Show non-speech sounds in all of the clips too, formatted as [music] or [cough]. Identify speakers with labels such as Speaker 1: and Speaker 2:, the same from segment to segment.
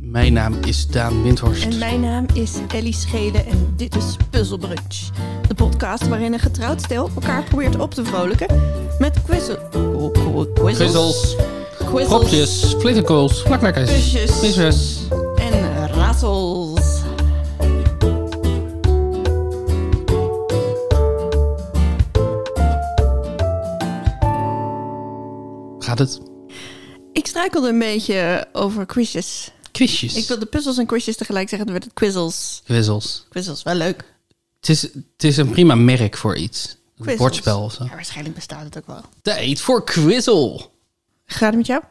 Speaker 1: Mijn naam is Daan Windhorst.
Speaker 2: En mijn naam is Ellie Schede en dit is Puzzlebrunch. De podcast waarin een getrouwd stel elkaar probeert op te vrolijken met quizzel... qu- qu- Quizzels.
Speaker 1: Grizzels,
Speaker 2: Quizzels.
Speaker 1: propjes, flitterkools, plaklekkers,
Speaker 2: Kusjes.
Speaker 1: missers.
Speaker 2: En raadsels.
Speaker 1: Gaat het?
Speaker 2: Ik struikelde een beetje over quizjes.
Speaker 1: Quizjes.
Speaker 2: Ik wilde puzzels en quizjes tegelijk zeggen, dan werd het quizzels.
Speaker 1: Grizzels.
Speaker 2: Quizzels, wel leuk.
Speaker 1: Het is, het is een prima merk voor iets. Een
Speaker 2: Quizzels.
Speaker 1: bordspel of zo.
Speaker 2: Ja, waarschijnlijk bestaat het ook wel.
Speaker 1: Tijd voor Quizzle.
Speaker 2: Gaat het met jou?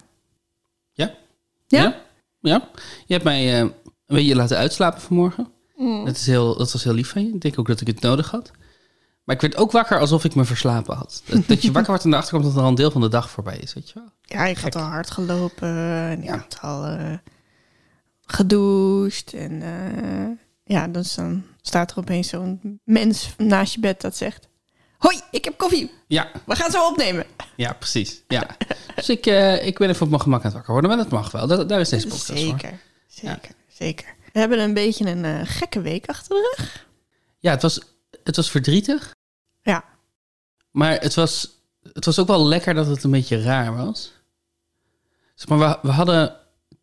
Speaker 1: Ja?
Speaker 2: Ja?
Speaker 1: Ja. Ja. Je hebt mij eh, een beetje laten uitslapen vanmorgen.
Speaker 2: Mm.
Speaker 1: Dat, is heel, dat was heel lief van je. Ik denk ook dat ik het nodig had. Maar ik werd ook wakker alsof ik me verslapen had. Dat, dat je wakker wordt en erachter komt dat er al een deel van de dag voorbij is, weet je wel?
Speaker 2: Ja, ik had al hard gelopen en ik
Speaker 1: Ja.
Speaker 2: had al eh, gedoucht. En eh, ja, dus dan staat er opeens zo'n mens naast je bed dat zegt... Hoi, ik heb koffie.
Speaker 1: Ja,
Speaker 2: We gaan zo opnemen.
Speaker 1: ja precies. Ja. [laughs] Dus ik, eh, ik ben even op mijn gemak aan het wakker worden. Maar dat mag wel. Dat, daar is deze podcast voor.
Speaker 2: Zeker, zeker, zeker. We hebben een beetje een eh, gekke week achter de rug.
Speaker 1: Ja, het was, het was verdrietig.
Speaker 2: Ja.
Speaker 1: Maar het was, het was ook wel lekker dat het een beetje raar was. Zeg maar, we, we hadden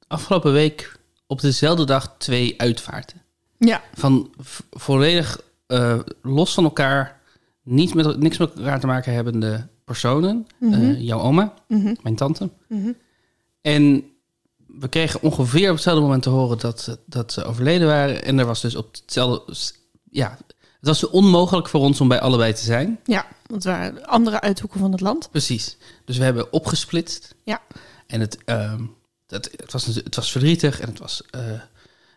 Speaker 1: afgelopen week op dezelfde dag twee uitvaarten.
Speaker 2: Ja,
Speaker 1: Van v- volledig eh, los van elkaar, niet met, niks met elkaar te maken hebbende personen.
Speaker 2: Mhm.
Speaker 1: Eh, jouw oma, mijn tante. En we kregen ongeveer op hetzelfde moment te horen dat, ze- dat ze overleden waren. En er was dus op hetzelfde... s- Ja, het was onmogelijk voor ons om bij allebei te zijn.
Speaker 2: ja, want we waren andere uithoeken van het land. [laughs]
Speaker 1: Precies. Dus we hebben opgesplitst.
Speaker 2: Ja.
Speaker 1: En het, ehm, dat, het, was, natuurlijk- het was verdrietig en het was eh,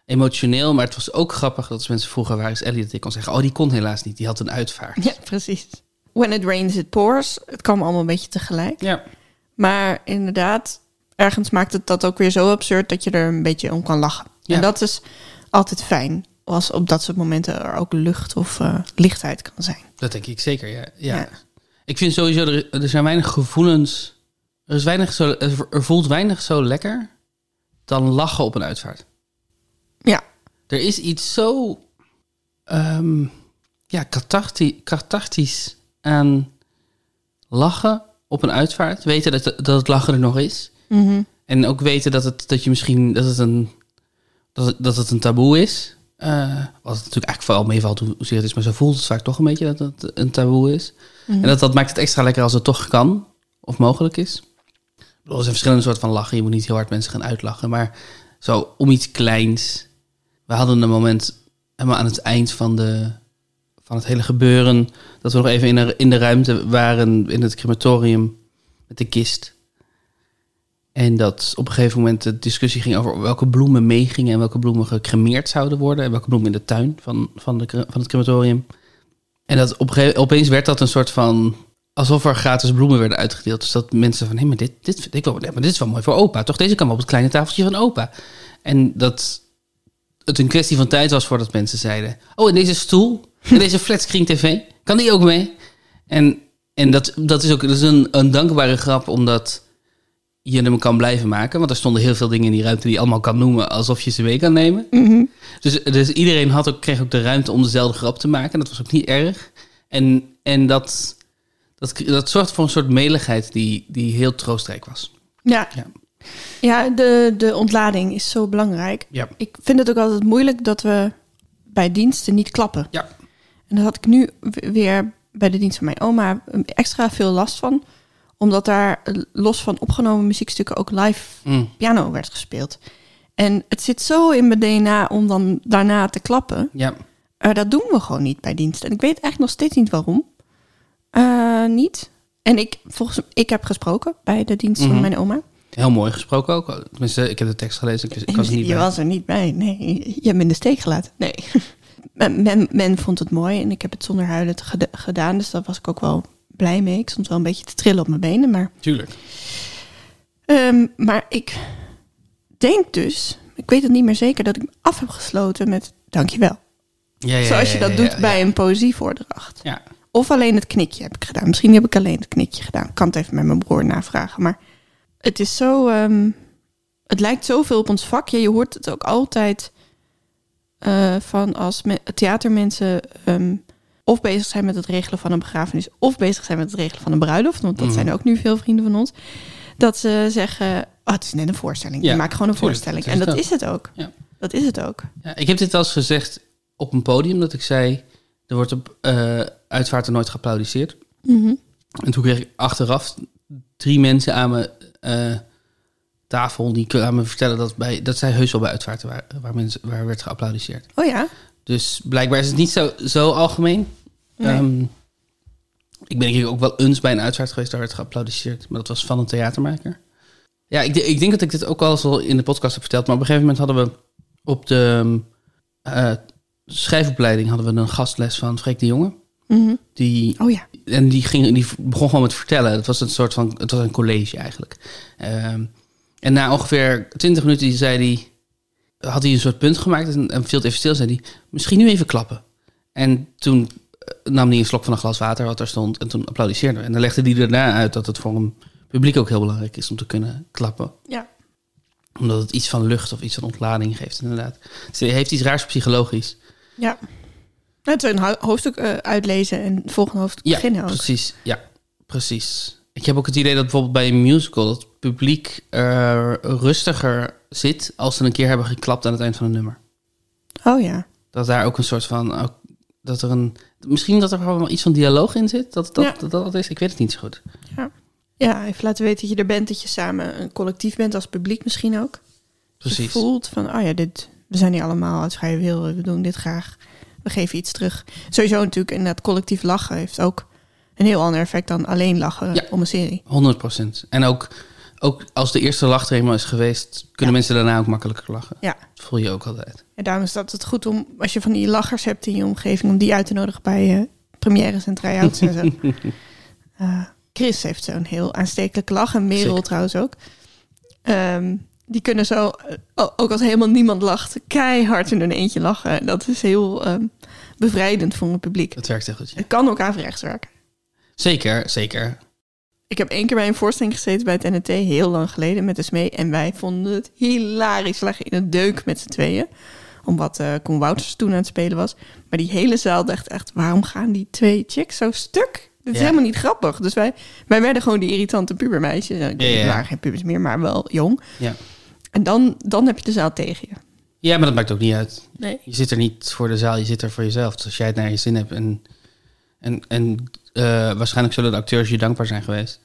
Speaker 1: emotioneel. Maar het was ook grappig dat als mensen vroegen waar is Ellie dat ik kon zeggen. Oh, die kon helaas niet. Die had een uitvaart.
Speaker 2: Ja, precies. When it rains, it pours. Het kwam allemaal een beetje tegelijk.
Speaker 1: Ja.
Speaker 2: Maar inderdaad, ergens maakt het dat ook weer zo absurd dat je er een beetje om kan lachen.
Speaker 1: Ja.
Speaker 2: En dat is altijd fijn, als op dat soort momenten er ook lucht of eh, lichtheid kan zijn.
Speaker 1: Dat denk ik zeker, ja. ja.
Speaker 2: Ja.
Speaker 1: Ik vind sowieso, er, er zijn weinig gevoelens. Er, is weinig zo, er er voelt weinig zo lekker dan lachen op een uitvaart.
Speaker 2: Ja,
Speaker 1: Er is iets zo ehm, ja, catharti- cathartisch aan lachen op een uitvaart. Weten dat, dat het lachen er nog is. En ook weten dat het, dat je misschien, dat het een, dat het, dat het een taboe is. Eh, wat het natuurlijk eigenlijk vooral meevalt hoe- hoezeer het is. Maar zo voelt het vaak toch een beetje dat het een taboe is. En dat, dat maakt het extra lekker als het toch kan. Of mogelijk is. Ik bedoel, Er zijn verschillende soorten van lachen. Je moet niet heel hard mensen gaan uitlachen. Maar zo om iets kleins. We hadden een moment helemaal aan het eind van, de, van het hele gebeuren. Dat we nog even in de, in de ruimte waren in het crematorium met de kist. En dat op een gegeven moment de discussie ging over welke bloemen meegingen en welke bloemen gecremeerd zouden worden. En welke bloemen in de tuin van, van, de, cre- van het crematorium. En dat op een gegeven, opeens werd dat een soort van. alsof er gratis bloemen werden uitgedeeld. Dus dat mensen van: hé, maar, dit, dit, vind ik wel, ja, maar dit is wel mooi voor opa. Toch, deze kan wel op het kleine tafeltje van opa. En dat het een kwestie van tijd was voordat mensen zeiden: Oh, en deze stoel, en deze flatscreen TV, kan die ook mee? En, en dat, dat is ook dat is een, een dankbare grap, omdat je hem kan blijven maken. Want er stonden heel veel dingen in die ruimte die je allemaal kan noemen alsof je ze mee kan nemen. Dus, dus iedereen had ook, kreeg ook de ruimte om dezelfde grap te maken. Dat was ook niet erg. En, en dat, dat, dat zorgde voor een soort meligheid die, die heel troostrijk was.
Speaker 2: ja.
Speaker 1: Ja.
Speaker 2: ja de, de ontlading is zo belangrijk.
Speaker 1: Ja.
Speaker 2: Ik vind het ook altijd moeilijk dat we bij diensten niet klappen.
Speaker 1: Ja.
Speaker 2: En daar had ik nu w- weer bij de dienst van mijn oma um, extra veel last van. Omdat daar eh, los van opgenomen muziekstukken ook live
Speaker 1: Mm.
Speaker 2: piano werd gespeeld. En het zit zo in mijn DNA om dan daarna te klappen.
Speaker 1: Ja.
Speaker 2: Eh, dat doen we gewoon niet bij dienst. En ik weet eigenlijk nog steeds niet waarom. Eh, niet. En ik, volgens, ik heb gesproken bij de dienst
Speaker 1: Mhm.
Speaker 2: van mijn oma.
Speaker 1: Heel mooi gesproken ook. Tenminste, ik heb de tekst gelezen. Ik, ik was er niet
Speaker 2: je
Speaker 1: bij.
Speaker 2: was er niet bij. Nee, je hebt me in de steek gelaten. Nee. [laughs] Men, men, men vond het mooi en ik heb het zonder huilen te geda- gedaan. Dus daar was ik ook wel blij mee. Ik stond wel een beetje te trillen op mijn benen. Maar,
Speaker 1: Tuurlijk.
Speaker 2: ehm, maar ik denk dus, ik weet het niet meer zeker, dat ik me af heb gesloten met dankjewel.
Speaker 1: Ja, ja,
Speaker 2: Zoals je
Speaker 1: ja,
Speaker 2: dat
Speaker 1: ja,
Speaker 2: doet
Speaker 1: ja,
Speaker 2: bij een poëzievoordracht.
Speaker 1: Ja.
Speaker 2: Of alleen het knikje heb ik gedaan. Misschien heb ik alleen het knikje gedaan. Ik kan het even met mijn broer navragen. Maar het is zo ehm, het lijkt zoveel op ons vakje. Je hoort het ook altijd eh, van als me- theatermensen ehm, of bezig zijn met het regelen van een begrafenis, of bezig zijn met het regelen van een bruiloft. Want dat
Speaker 1: Mhm.
Speaker 2: zijn ook nu veel vrienden van ons. Dat ze zeggen: oh, het is net een voorstelling.
Speaker 1: Ja,
Speaker 2: Je maakt gewoon een
Speaker 1: tuurlijk,
Speaker 2: voorstelling.
Speaker 1: dat
Speaker 2: En
Speaker 1: is
Speaker 2: dat
Speaker 1: het
Speaker 2: is het ook.
Speaker 1: Ja.
Speaker 2: Dat is het ook.
Speaker 1: Ja, ik heb dit wel eens gezegd op een podium dat ik zei: er wordt op eh uitvaarten nooit geapplaudiceerd.
Speaker 2: Mhm.
Speaker 1: En toen kreeg ik achteraf drie mensen aan mijn eh, tafel die aan me vertellen dat, bij, dat zij heus wel bij uitvaarten waren waar, mensen, waar werd geapplaudiceerd.
Speaker 2: Oh ja.
Speaker 1: Dus blijkbaar is het niet zo, zo algemeen.
Speaker 2: Nee.
Speaker 1: Ehm, ik ben denk ik ook wel eens bij een uitvaart geweest, daar werd geapplaudiceerd. Maar dat was van een theatermaker. Ja, ik, de- ik denk dat ik dit ook al eens wel in de podcast heb verteld. Maar op een gegeven moment hadden we op de ehm, eh, schrijfopleiding hadden we een gastles van Freek de Jonge.
Speaker 2: Mhm.
Speaker 1: Die
Speaker 2: Oh ja.
Speaker 1: en die, ging, die begon gewoon met vertellen. Het was een soort van, het was een college eigenlijk. Ehm, en na ongeveer 20 minuten die zei hij, had hij een soort punt gemaakt en, en viel het even stil. Zei hij, misschien nu even klappen. En toen eh, nam hij een slok van een glas water wat er stond en toen applaudisseerden we. En dan legde hij daarna uit dat het voor een publiek ook heel belangrijk is om te kunnen klappen.
Speaker 2: Ja.
Speaker 1: Omdat het iets van lucht of iets van ontlading geeft inderdaad. Dus hij heeft iets raars psychologisch.
Speaker 2: Ja. Het is een ho- hoofdstuk eh, uitlezen en het volgende hoofdstuk
Speaker 1: Ja,
Speaker 2: beginnen ook.
Speaker 1: Precies, ja, precies. Ik heb ook het idee dat bijvoorbeeld bij een musical het publiek eh, rustiger zit als ze een keer hebben geklapt aan het eind van een nummer.
Speaker 2: Oh ja.
Speaker 1: Dat daar ook een soort van. ook- dat er een, misschien dat er gewoon wel iets van dialoog in zit. Dat dat,
Speaker 2: Ja.
Speaker 1: dat, dat is. Ik weet het niet zo goed.
Speaker 2: Ja, even laten weten dat je er bent, dat je samen een collectief bent als publiek misschien ook.
Speaker 1: Precies.
Speaker 2: Je voelt van, oh ja, dit, we zijn hier allemaal uit vrije wil, we doen dit graag, we geven iets terug. Sowieso natuurlijk, inderdaad, collectief lachen heeft ook een heel ander effect dan alleen lachen
Speaker 1: Ja.
Speaker 2: om een serie.
Speaker 1: 100%. En ook, ook als de eerste lach er eenmaal is geweest, kunnen mensen daarna ook makkelijker lachen.
Speaker 2: Ja.
Speaker 1: Dat voel je ook altijd.
Speaker 2: En daarom is dat het goed om, als je van die lachers hebt in je omgeving, om die uit te nodigen bij eh premières en try-outs en zo. Eh, Chris heeft zo'n heel aanstekelijke lach en Merel
Speaker 1: Zeker.
Speaker 2: trouwens ook. Ehm, die kunnen zo, eh, o- ook als helemaal niemand lacht, keihard in hun eentje lachen. Dat is heel ehm, bevrijdend voor het publiek.
Speaker 1: Dat werkt heel goed. ja.
Speaker 2: Het kan ook averechts werken.
Speaker 1: Zeker, zeker.
Speaker 2: Ik heb één keer bij een voorstelling gezeten bij het NET, heel lang geleden, met dus mee. En wij vonden het hilarisch. We lagen in een deuk met z'n tweeën. Omdat eh Koen Wouters toen aan het spelen was. Maar die hele zaal dacht echt, waarom gaan die twee chicks zo stuk? Dit is
Speaker 1: Ja.
Speaker 2: helemaal niet grappig. Dus wij, wij werden gewoon die irritante pubermeisjes. Nou, ik
Speaker 1: Ja, ja,
Speaker 2: weet,
Speaker 1: ja.
Speaker 2: We waren geen pubers meer, maar wel jong.
Speaker 1: Ja.
Speaker 2: En dan, dan heb je de zaal tegen je.
Speaker 1: ja, maar dat maakt ook niet uit.
Speaker 2: Nee.
Speaker 1: Je zit er niet voor de zaal, je zit er voor jezelf. Dus als jij het naar je zin hebt en, en, en eh, waarschijnlijk zullen de acteurs je dankbaar zijn geweest.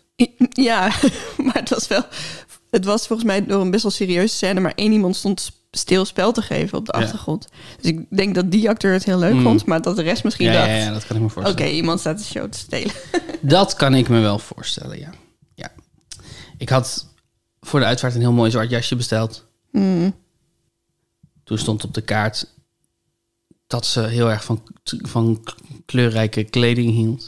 Speaker 2: Ja, [laughs] maar het was wel. Het was volgens mij door een best wel serieuze scène, maar één iemand stond s- stil spel te geven op de
Speaker 1: Ja.
Speaker 2: achtergrond. Dus ik denk dat die acteur het heel leuk
Speaker 1: Mm.
Speaker 2: vond, maar dat de rest misschien
Speaker 1: Ja,
Speaker 2: dacht:
Speaker 1: ja, ja, dat kan ik me
Speaker 2: oké,
Speaker 1: voorstellen.
Speaker 2: iemand staat de show te stelen. [laughs]
Speaker 1: Dat kan ik me wel voorstellen, ja. ja. Ik had voor de uitvaart een heel mooi zwart jasje besteld.
Speaker 2: Mm.
Speaker 1: Toen stond op de kaart dat ze heel erg van, van kleurrijke kleding hield.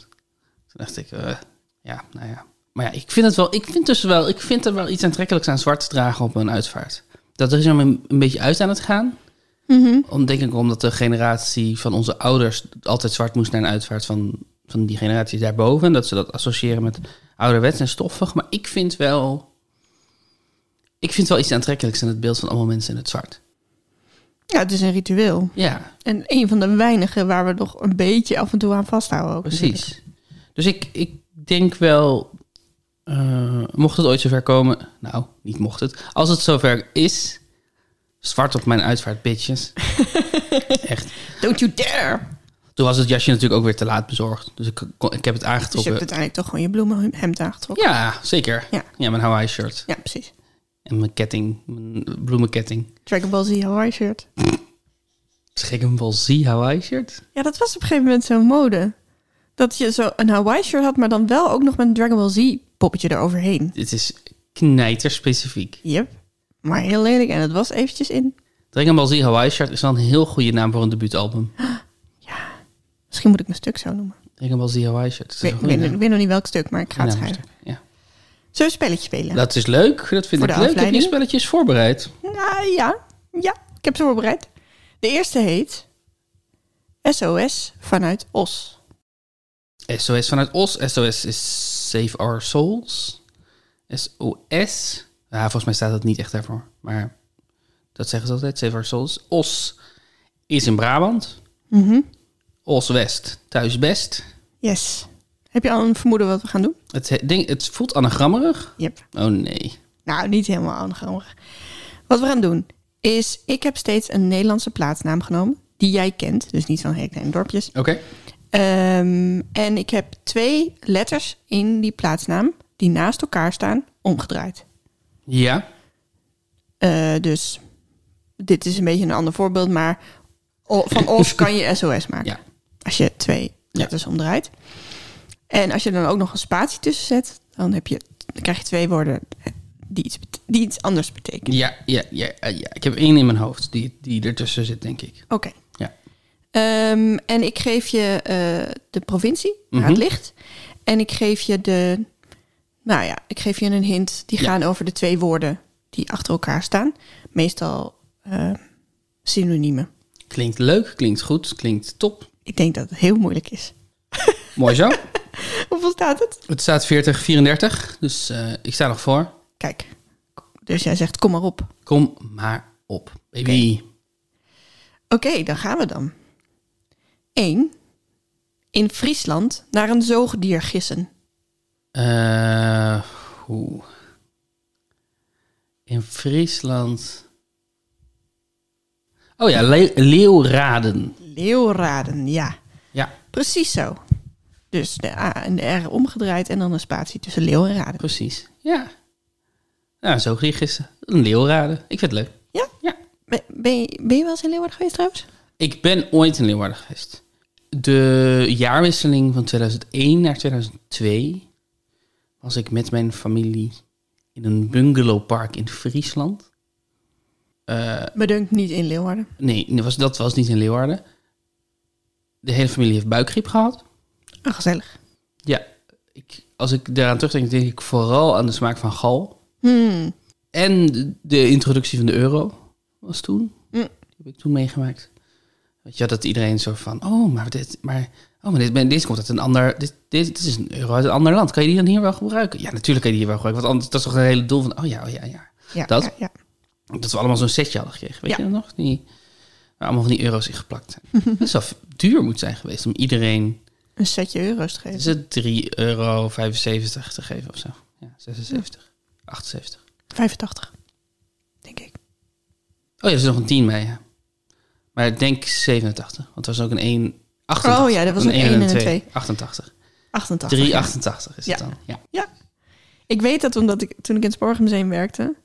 Speaker 1: Toen dacht ik, eh, ja, nou ja. Maar ja, ik vind het wel, ik vind dus wel, ik vind er wel iets aantrekkelijks aan zwart te dragen op een uitvaart. Dat er is er een, een beetje uit aan het gaan.
Speaker 2: Mhm.
Speaker 1: Om, denk ik omdat de generatie van onze ouders altijd zwart moest naar een uitvaart van, van die generatie daarboven. En dat ze dat associëren met ouderwets en stoffig. Maar ik vind wel. Ik vind wel iets aantrekkelijks in het beeld van allemaal mensen in het zwart.
Speaker 2: Ja, het is een ritueel.
Speaker 1: Ja,
Speaker 2: En een van de weinigen waar we nog een beetje af en toe aan vasthouden. Ook, natuurlijk.
Speaker 1: precies. Dus ik, ik denk wel. eh, mocht het ooit zover komen. Nou, niet mocht het. Als het zover is. Zwart op mijn uitvaart, bitches. Echt.
Speaker 2: Dus Don't you dare!
Speaker 1: Toen was het jasje natuurlijk ook weer te laat bezorgd. Dus ik, kon- ik heb het
Speaker 2: Dus je
Speaker 1: aangetrokken.
Speaker 2: hebt uiteindelijk toch gewoon je bloemenhemd aangetrokken.
Speaker 1: Ja, zeker.
Speaker 2: Ja.
Speaker 1: Ja, mijn Hawaii shirt.
Speaker 2: Ja, precies.
Speaker 1: En mijn ketting, mijn bloemenketting.
Speaker 2: Dragon Ball Z Hawaii shirt.
Speaker 1: Dragon Ball Z Hawaii shirt?
Speaker 2: Ja, dat was op een gegeven moment zo'n mode. Dat je zo een Hawaii shirt had, maar dan wel ook nog met een Dragon Ball Z poppetje eroverheen.
Speaker 1: Dit is knijterspecifiek.
Speaker 2: Yep. Maar heel lelijk en het was eventjes in.
Speaker 1: Dragon Ball Z Hawaii shirt is wel een heel goede naam voor een debuutalbum.
Speaker 2: Misschien moet ik mijn stuk zo noemen.
Speaker 1: Dragon Ball Z Hawaii shirt. Dat is
Speaker 2: Ik weet,
Speaker 1: een
Speaker 2: ik
Speaker 1: goede
Speaker 2: weet,
Speaker 1: naam.
Speaker 2: ik weet nog niet welk stuk, maar ik ga het
Speaker 1: Goede naam.
Speaker 2: schrijven.
Speaker 1: Ja.
Speaker 2: Zullen we een spelletje spelen?
Speaker 1: Dat is leuk. Dat vind
Speaker 2: Voor de
Speaker 1: ik leuk. Heb je
Speaker 2: afleiding.
Speaker 1: spelletjes voorbereid?
Speaker 2: Nou ja, ja, ik heb ze voorbereid. De eerste heet SOS vanuit Os.
Speaker 1: SOS vanuit Os. SOS is Save Our Souls. SOS. Ja, volgens mij staat dat niet echt daarvoor. Maar dat zeggen ze altijd, Save Our Souls. Os is in Brabant.
Speaker 2: Mhm.
Speaker 1: Os West, thuis best.
Speaker 2: Yes. Heb je al een vermoeden wat we gaan doen?
Speaker 1: Het, he- ding, het voelt anagrammerig.
Speaker 2: Yep.
Speaker 1: Oh nee.
Speaker 2: Nou, niet helemaal anagrammig. Wat we gaan doen is, ik heb steeds een Nederlandse plaatsnaam genomen. Die jij kent, dus niet van hele kleine dorpjes.
Speaker 1: Oké.
Speaker 2: Ehm, en ik heb twee letters in die plaatsnaam die naast elkaar staan, omgedraaid.
Speaker 1: Ja.
Speaker 2: Eh, dus dit is een beetje een ander voorbeeld, maar o- van OS kan je SOS maken.
Speaker 1: Ja.
Speaker 2: Als je twee letters omdraait. En als je dan ook nog een spatie tussen zet, dan, heb je, dan krijg je twee woorden die iets, bet- die iets anders betekenen.
Speaker 1: Ja, ja, ja, eh, ja. Ik heb één in mijn hoofd die, die ertussen zit, denk ik.
Speaker 2: Oké.
Speaker 1: Ja.
Speaker 2: Ehm, en ik geef je eh, de provincie waar
Speaker 1: Mhm.
Speaker 2: het ligt. En ik geef je de. Nou ja, ik geef je een hint. Die
Speaker 1: Ja.
Speaker 2: gaan over de twee woorden die achter elkaar staan. Meestal eh, synoniemen.
Speaker 1: Klinkt leuk, klinkt goed, klinkt top.
Speaker 2: Ik denk dat het heel moeilijk is. [laughs]
Speaker 1: Mooi zo.
Speaker 2: Hoeveel staat het?
Speaker 1: het staat 40-34, dus eh, ik sta nog voor.
Speaker 2: Kijk, dus jij zegt kom maar op.
Speaker 1: Kom maar op, baby.
Speaker 2: Oké, dan gaan we dan. 1. In Friesland naar een zoogdier gissen.
Speaker 1: Eh, oeh. In Friesland. Oh ja, le- leeuwraden.
Speaker 2: Leeuwraden, ja.
Speaker 1: Ja,
Speaker 2: Precies zo. Dus de A en de R omgedraaid en dan een spatie tussen leeuw en raden.
Speaker 1: precies. Ja. Nou, zo ging gisteren. Een leeuwraden. Ik vind het leuk.
Speaker 2: Ja?
Speaker 1: Ja.
Speaker 2: Ben, ben, je, ben je wel eens in Leeuwarden geweest trouwens?
Speaker 1: Ik ben ooit in Leeuwarden geweest. De jaarwisseling van 2001 naar 2002 was ik met mijn familie in een bungalowpark in Friesland. Eh.
Speaker 2: Me dunkt niet in Leeuwarden.
Speaker 1: Nee, dat was, dat was niet in Leeuwarden. De hele familie heeft buikgriep gehad.
Speaker 2: Ah, gezellig.
Speaker 1: Ja, ik, als ik daaraan terugdenk, denk ik vooral aan de smaak van gal.
Speaker 2: Hmm.
Speaker 1: En de, de introductie van de euro was toen.
Speaker 2: Mm.
Speaker 1: Die heb ik toen meegemaakt. Weet je, dat iedereen zo van, oh, maar dit, maar, oh, maar dit, maar dit komt uit een ander, dit, dit, dit is een euro uit een ander land. Kan je die dan hier wel gebruiken? Ja, natuurlijk kan je die hier wel gebruiken. Want anders, dat is toch het hele doel van, oh ja, oh ja, ja.
Speaker 2: Ja,
Speaker 1: Dat?
Speaker 2: Ja, ja.
Speaker 1: Dat we allemaal zo'n setje hadden gekregen, weet
Speaker 2: Ja.
Speaker 1: je dat nog? Die, waar allemaal van die euro's in geplakt
Speaker 2: [laughs]
Speaker 1: zijn. Dat zou duur moeten zijn geweest om iedereen,
Speaker 2: Een setje euro's te
Speaker 1: is
Speaker 2: geven.
Speaker 1: het 3,75 euro te geven of zo? Ja, 76, 78.
Speaker 2: 85, denk ik.
Speaker 1: Oh ja, er is nog een 10 bij, ja. Maar ik denk 87, want er was ook een 1... 88,
Speaker 2: Oh ja, dat was ook
Speaker 1: één
Speaker 2: één en een
Speaker 1: twee.
Speaker 2: twee.
Speaker 1: 88.
Speaker 2: 88.
Speaker 1: 3,88
Speaker 2: ja.
Speaker 1: is
Speaker 2: Ja.
Speaker 1: het dan. Ja.
Speaker 2: Ik weet dat omdat ik toen ik in het Sporgenmuseum werkte,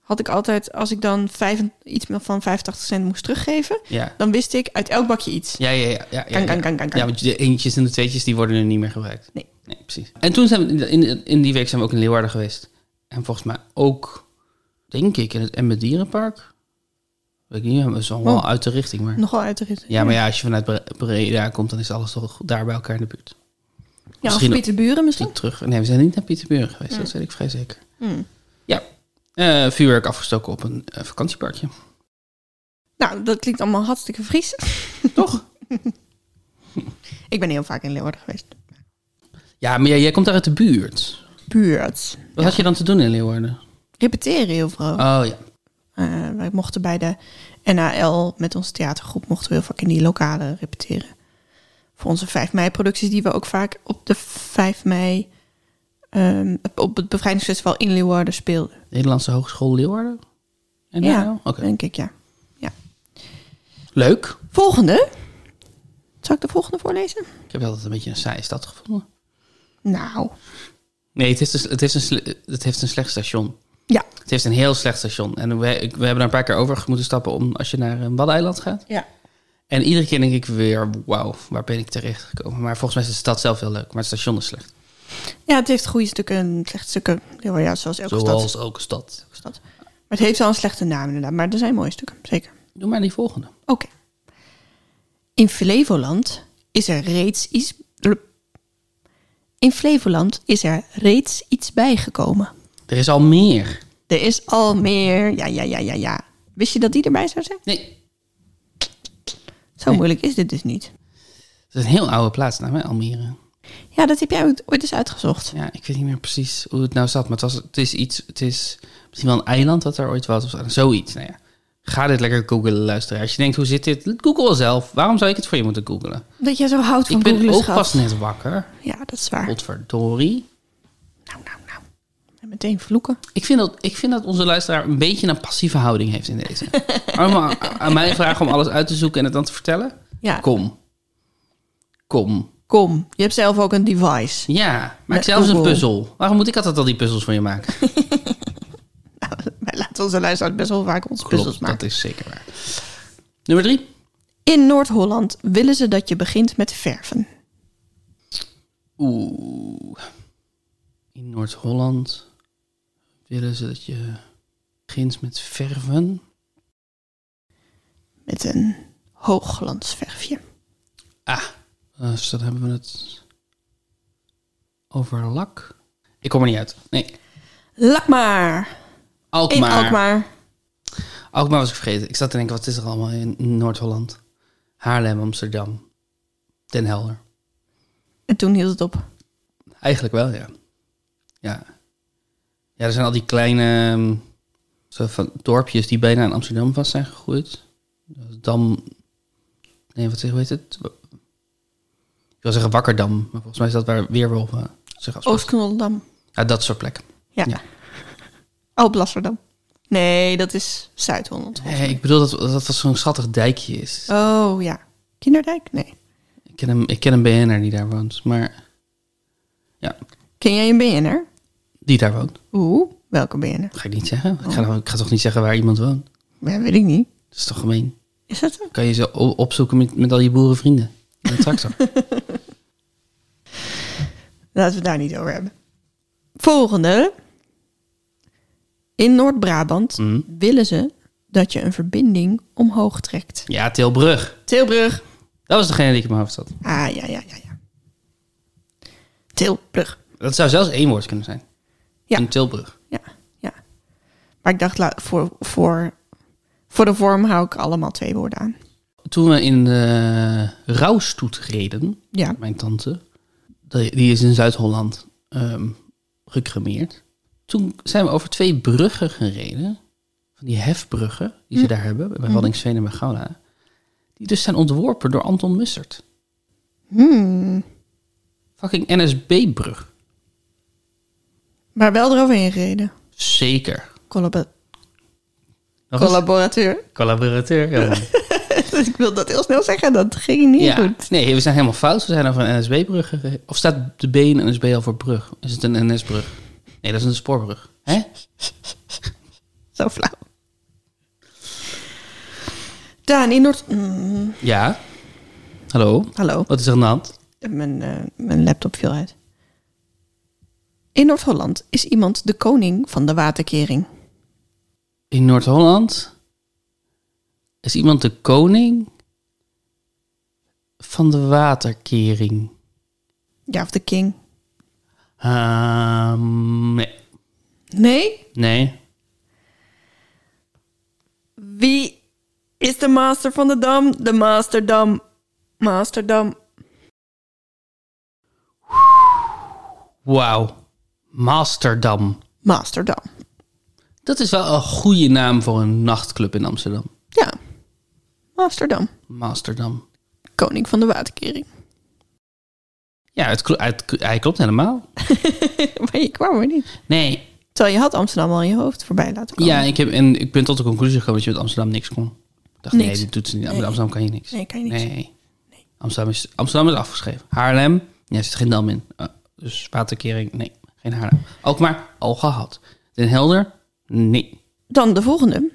Speaker 2: had ik altijd, als ik dan vijf, iets meer van 85 cent moest teruggeven,
Speaker 1: Ja.
Speaker 2: dan wist ik uit elk bakje iets.
Speaker 1: Ja, ja, ja. ja, ja,
Speaker 2: Kan,
Speaker 1: ja.
Speaker 2: kan, kan, kan, kan.
Speaker 1: Ja, want de eentjes en de tweetjes, die worden er niet meer gebruikt.
Speaker 2: Nee.
Speaker 1: Nee, precies. En toen zijn we, in- in, in die week zijn we ook in Leeuwarden geweest. En volgens mij ook, denk ik, in het Emmen Dierenpark. Weet ik niet, maar het is allemaal
Speaker 2: Oh.
Speaker 1: uit de richting. Maar.
Speaker 2: Nogal uit de rit.
Speaker 1: Ja, maar ja, als je vanuit Bre- Breda komt, dan is alles toch daar bij elkaar in de buurt.
Speaker 2: Ja, of
Speaker 1: misschien-
Speaker 2: Pieterburen misschien?
Speaker 1: Niet terug. Nee, we zijn niet naar Pieterburg geweest, dat weet ik vrij zeker. Ja, eh, vuurwerk afgestoken op een eh, vakantieparkje.
Speaker 2: Nou, dat klinkt allemaal hartstikke Fries.
Speaker 1: [laughs] Toch?
Speaker 2: Ik ben heel vaak in Leeuwarden geweest.
Speaker 1: Ja, maar jij, jij komt daar uit de buurt.
Speaker 2: Buurt.
Speaker 1: Wat had je dan te doen in Leeuwarden?
Speaker 2: Repeteren heel veel.
Speaker 1: Oh ja.
Speaker 2: Eh, wij mochten bij de NAL met onze theatergroep mochten we heel vaak in die lokalen repeteren. Voor onze 5 mei producties die we ook vaak op de 5 mei ehm, op het bevrijdingsfestival in Leeuwarden speelden.
Speaker 1: Nederlandse Hogeschool Leeuwarden? En
Speaker 2: Ja,
Speaker 1: daar? Oké.
Speaker 2: denk ik ja.
Speaker 1: Leuk.
Speaker 2: Volgende. Zal ik de volgende voorlezen?
Speaker 1: Ik heb altijd een beetje een saaie stad gevonden.
Speaker 2: Nou,
Speaker 1: Nee, het, is dus, het, heeft een sle- het heeft een slecht station.
Speaker 2: ja.
Speaker 1: Het heeft een heel slecht station. En we, ik- we hebben er een paar keer over moeten stappen om als je naar een waddeneiland gaat.
Speaker 2: ja.
Speaker 1: En iedere keer denk ik weer, wauw, waar ben ik terecht gekomen? Maar volgens mij is de stad zelf heel leuk, maar het station is slecht.
Speaker 2: Ja, het heeft goede stukken en slechte stukken. Ja, ja, zoals elke stad.
Speaker 1: Zoals elke stad.
Speaker 2: Elke stad. Maar het heeft wel een slechte naam inderdaad. Maar er zijn mooie stukken, zeker.
Speaker 1: Doe maar die volgende.
Speaker 2: Oké. In Flevoland is er reeds iets. In Flevoland is er reeds iets bijgekomen.
Speaker 1: Er is al meer.
Speaker 2: Er is al meer. Ja, ja, ja, ja, ja. Wist je dat die erbij zou zijn?
Speaker 1: Nee,
Speaker 2: Zo moeilijk is dit dus niet.
Speaker 1: Het is een heel oude plaatsnaam, hè, Almere.
Speaker 2: Ja, dat heb jij ooit- ooit eens uitgezocht.
Speaker 1: Ja, ik weet niet meer precies hoe het nou zat. Maar het, was, het is iets, het is misschien wel een eiland dat er ooit was. Of zo- zoiets, nou ja. Ga dit lekker googlen, luisteren. Als je denkt, hoe zit dit? Google wel zelf. Waarom zou ik het voor je moeten googlen?
Speaker 2: Dat jij zo houdt van
Speaker 1: ik ben
Speaker 2: googlen,
Speaker 1: ook
Speaker 2: schat.
Speaker 1: pas net wakker.
Speaker 2: Ja, dat is waar.
Speaker 1: Potverdorie.
Speaker 2: Nou, nou, nou. En meteen vloeken.
Speaker 1: Ik vind, dat, ik vind dat onze luisteraar een beetje een passieve houding heeft in
Speaker 2: [laughs]
Speaker 1: deze. Allemaal aan aan mij vragen om alles uit te zoeken en het dan te vertellen?
Speaker 2: Ja, kom.
Speaker 1: Kom. Kom.
Speaker 2: Je hebt zelf ook een device.
Speaker 1: Ja, maak
Speaker 2: Met
Speaker 1: zelfs een
Speaker 2: Google.
Speaker 1: puzzel. Waarom moet ik altijd al die puzzels voor je maken?
Speaker 2: Wij laten onze luisteraars best wel vaak onze puzzels
Speaker 1: Klopt,
Speaker 2: maken.
Speaker 1: dat is zeker waar. Nummer drie.
Speaker 2: In Noord-Holland willen ze dat je begint met verven.
Speaker 1: Oeh. In Noord-Holland willen ze dat je begint met verven.
Speaker 2: Met een hoogglansverfje.
Speaker 1: Ah, eh, dus dan hebben we het over lak. Ik kom er niet uit. Nee,
Speaker 2: Lak maar. In
Speaker 1: Alkmaar. Alkmaar.
Speaker 2: Alkmaar.
Speaker 1: was ik vergeten. Ik zat te denken, wat is er allemaal in Noord-Holland? Haarlem, Amsterdam, Den Helder.
Speaker 2: En toen hield het op.
Speaker 1: Eigenlijk wel, ja. Ja. Ja, er zijn al die kleine ehm, zo van dorpjes die bijna aan Amsterdam vast zijn gegroeid. Dam. Nee, wat zeg, hoe heet het? Ik wil zeggen Wakkerdam, maar volgens mij is dat waar Weerwolven zich afspelen.
Speaker 2: Oost-Knoldam.
Speaker 1: Ja, dat soort plekken.
Speaker 2: Ja.
Speaker 1: Ja.
Speaker 2: Oh, Blasserdam. Nee, dat is Zuid-Holland.
Speaker 1: Nee, Eh, ik bedoel dat dat dat zo'n schattig dijkje is.
Speaker 2: Oh ja. Kinderdijk? Nee.
Speaker 1: Ik ken een, ik ken een BN'er die daar woont, maar ja,
Speaker 2: Ken jij een BN'er?
Speaker 1: die daar woont.
Speaker 2: Oeh, welke BN'er?
Speaker 1: Dat ga ik niet zeggen. Ik, ga, ik ga toch niet zeggen waar iemand woont.
Speaker 2: Ja, weet ik niet.
Speaker 1: Dat is toch gemeen.
Speaker 2: Is dat hem?
Speaker 1: Kan je ze o- opzoeken met, met al je boerenvrienden? Met een
Speaker 2: [laughs]
Speaker 1: tractor.
Speaker 2: Laten we het daar niet over hebben. Volgende. In Noord-Brabant
Speaker 1: Mhm.
Speaker 2: willen ze dat je een verbinding omhoog trekt.
Speaker 1: ja, Tilbrug.
Speaker 2: Tilbrug.
Speaker 1: Dat was degene die ik in mijn hoofd had.
Speaker 2: Ah, ja, ja, ja, ja. Tilbrug.
Speaker 1: Dat zou zelfs één woord kunnen zijn.
Speaker 2: Ja.
Speaker 1: Een Tilbrug.
Speaker 2: Ja, ja. Maar ik dacht, la- voor, voor, voor de vorm hou ik allemaal twee woorden aan.
Speaker 1: Toen we in de rouwstoet reden,
Speaker 2: Ja.
Speaker 1: mijn tante, die die is in Zuid-Holland ehm gecremeerd. Toen zijn we over twee bruggen gereden. Van die hefbruggen die ze
Speaker 2: Hm.
Speaker 1: daar hebben, bij Waddinxveen en bij Gouda. Die dus zijn ontworpen door Anton Mussert.
Speaker 2: Hmm.
Speaker 1: Fucking NSB-brug.
Speaker 2: Maar wel eroverheen gereden.
Speaker 1: Zeker.
Speaker 2: Collab-
Speaker 1: Nog eens?
Speaker 2: collaborateur. [laughs]
Speaker 1: Collaborateur. Ja.
Speaker 2: ik wil dat heel snel zeggen, dat ging [laughs] niet
Speaker 1: Ja.
Speaker 2: goed.
Speaker 1: Nee, we zijn helemaal fout. We zijn over een NSB-brug gereden. Of staat de B in NSB al voor brug? Is het een NS-brug? Nee, dat is een spoorbrug. Hè?
Speaker 2: Zo flauw. Daan, in Noord... Mm,
Speaker 1: Ja. Hallo?
Speaker 2: hallo.
Speaker 1: Wat is er aan de hand?
Speaker 2: Mijn, eh, mijn laptop viel uit. In Noord-Holland is iemand de koning van de waterkering.
Speaker 1: In Noord-Holland is iemand de koning van de waterkering.
Speaker 2: Ja, of de king.
Speaker 1: Ehm, nee.
Speaker 2: Nee?
Speaker 1: Nee.
Speaker 2: Wie is de master van de dam? De masterdam. Masterdam.
Speaker 1: Wauw. Masterdam.
Speaker 2: Masterdam.
Speaker 1: Dat is wel een goede naam voor een nachtclub in Amsterdam.
Speaker 2: Ja. Masterdam.
Speaker 1: Masterdam.
Speaker 2: Koning van de waterkering. [laughs]
Speaker 1: Ja, het, klo- het- hij klopt helemaal.
Speaker 2: maar je kwam er niet.
Speaker 1: Nee,
Speaker 2: Terwijl je had Amsterdam al in je hoofd voorbij laten komen.
Speaker 1: ja, ik, heb, en ik ben tot de conclusie gekomen dat je met Amsterdam niks kon. Ik dacht, nee,
Speaker 2: Niks.
Speaker 1: dit doet ze niet. Met
Speaker 2: Nee.
Speaker 1: Amsterdam kan je niks.
Speaker 2: Nee, kan je niks.
Speaker 1: Nee. Amsterdam, is, Amsterdam is afgeschreven. Haarlem, ja, zit geen dam in. Eh, dus waterkering, nee, geen Haarlem. Ook maar al gehad. Den Helder, nee.
Speaker 2: Dan de volgende.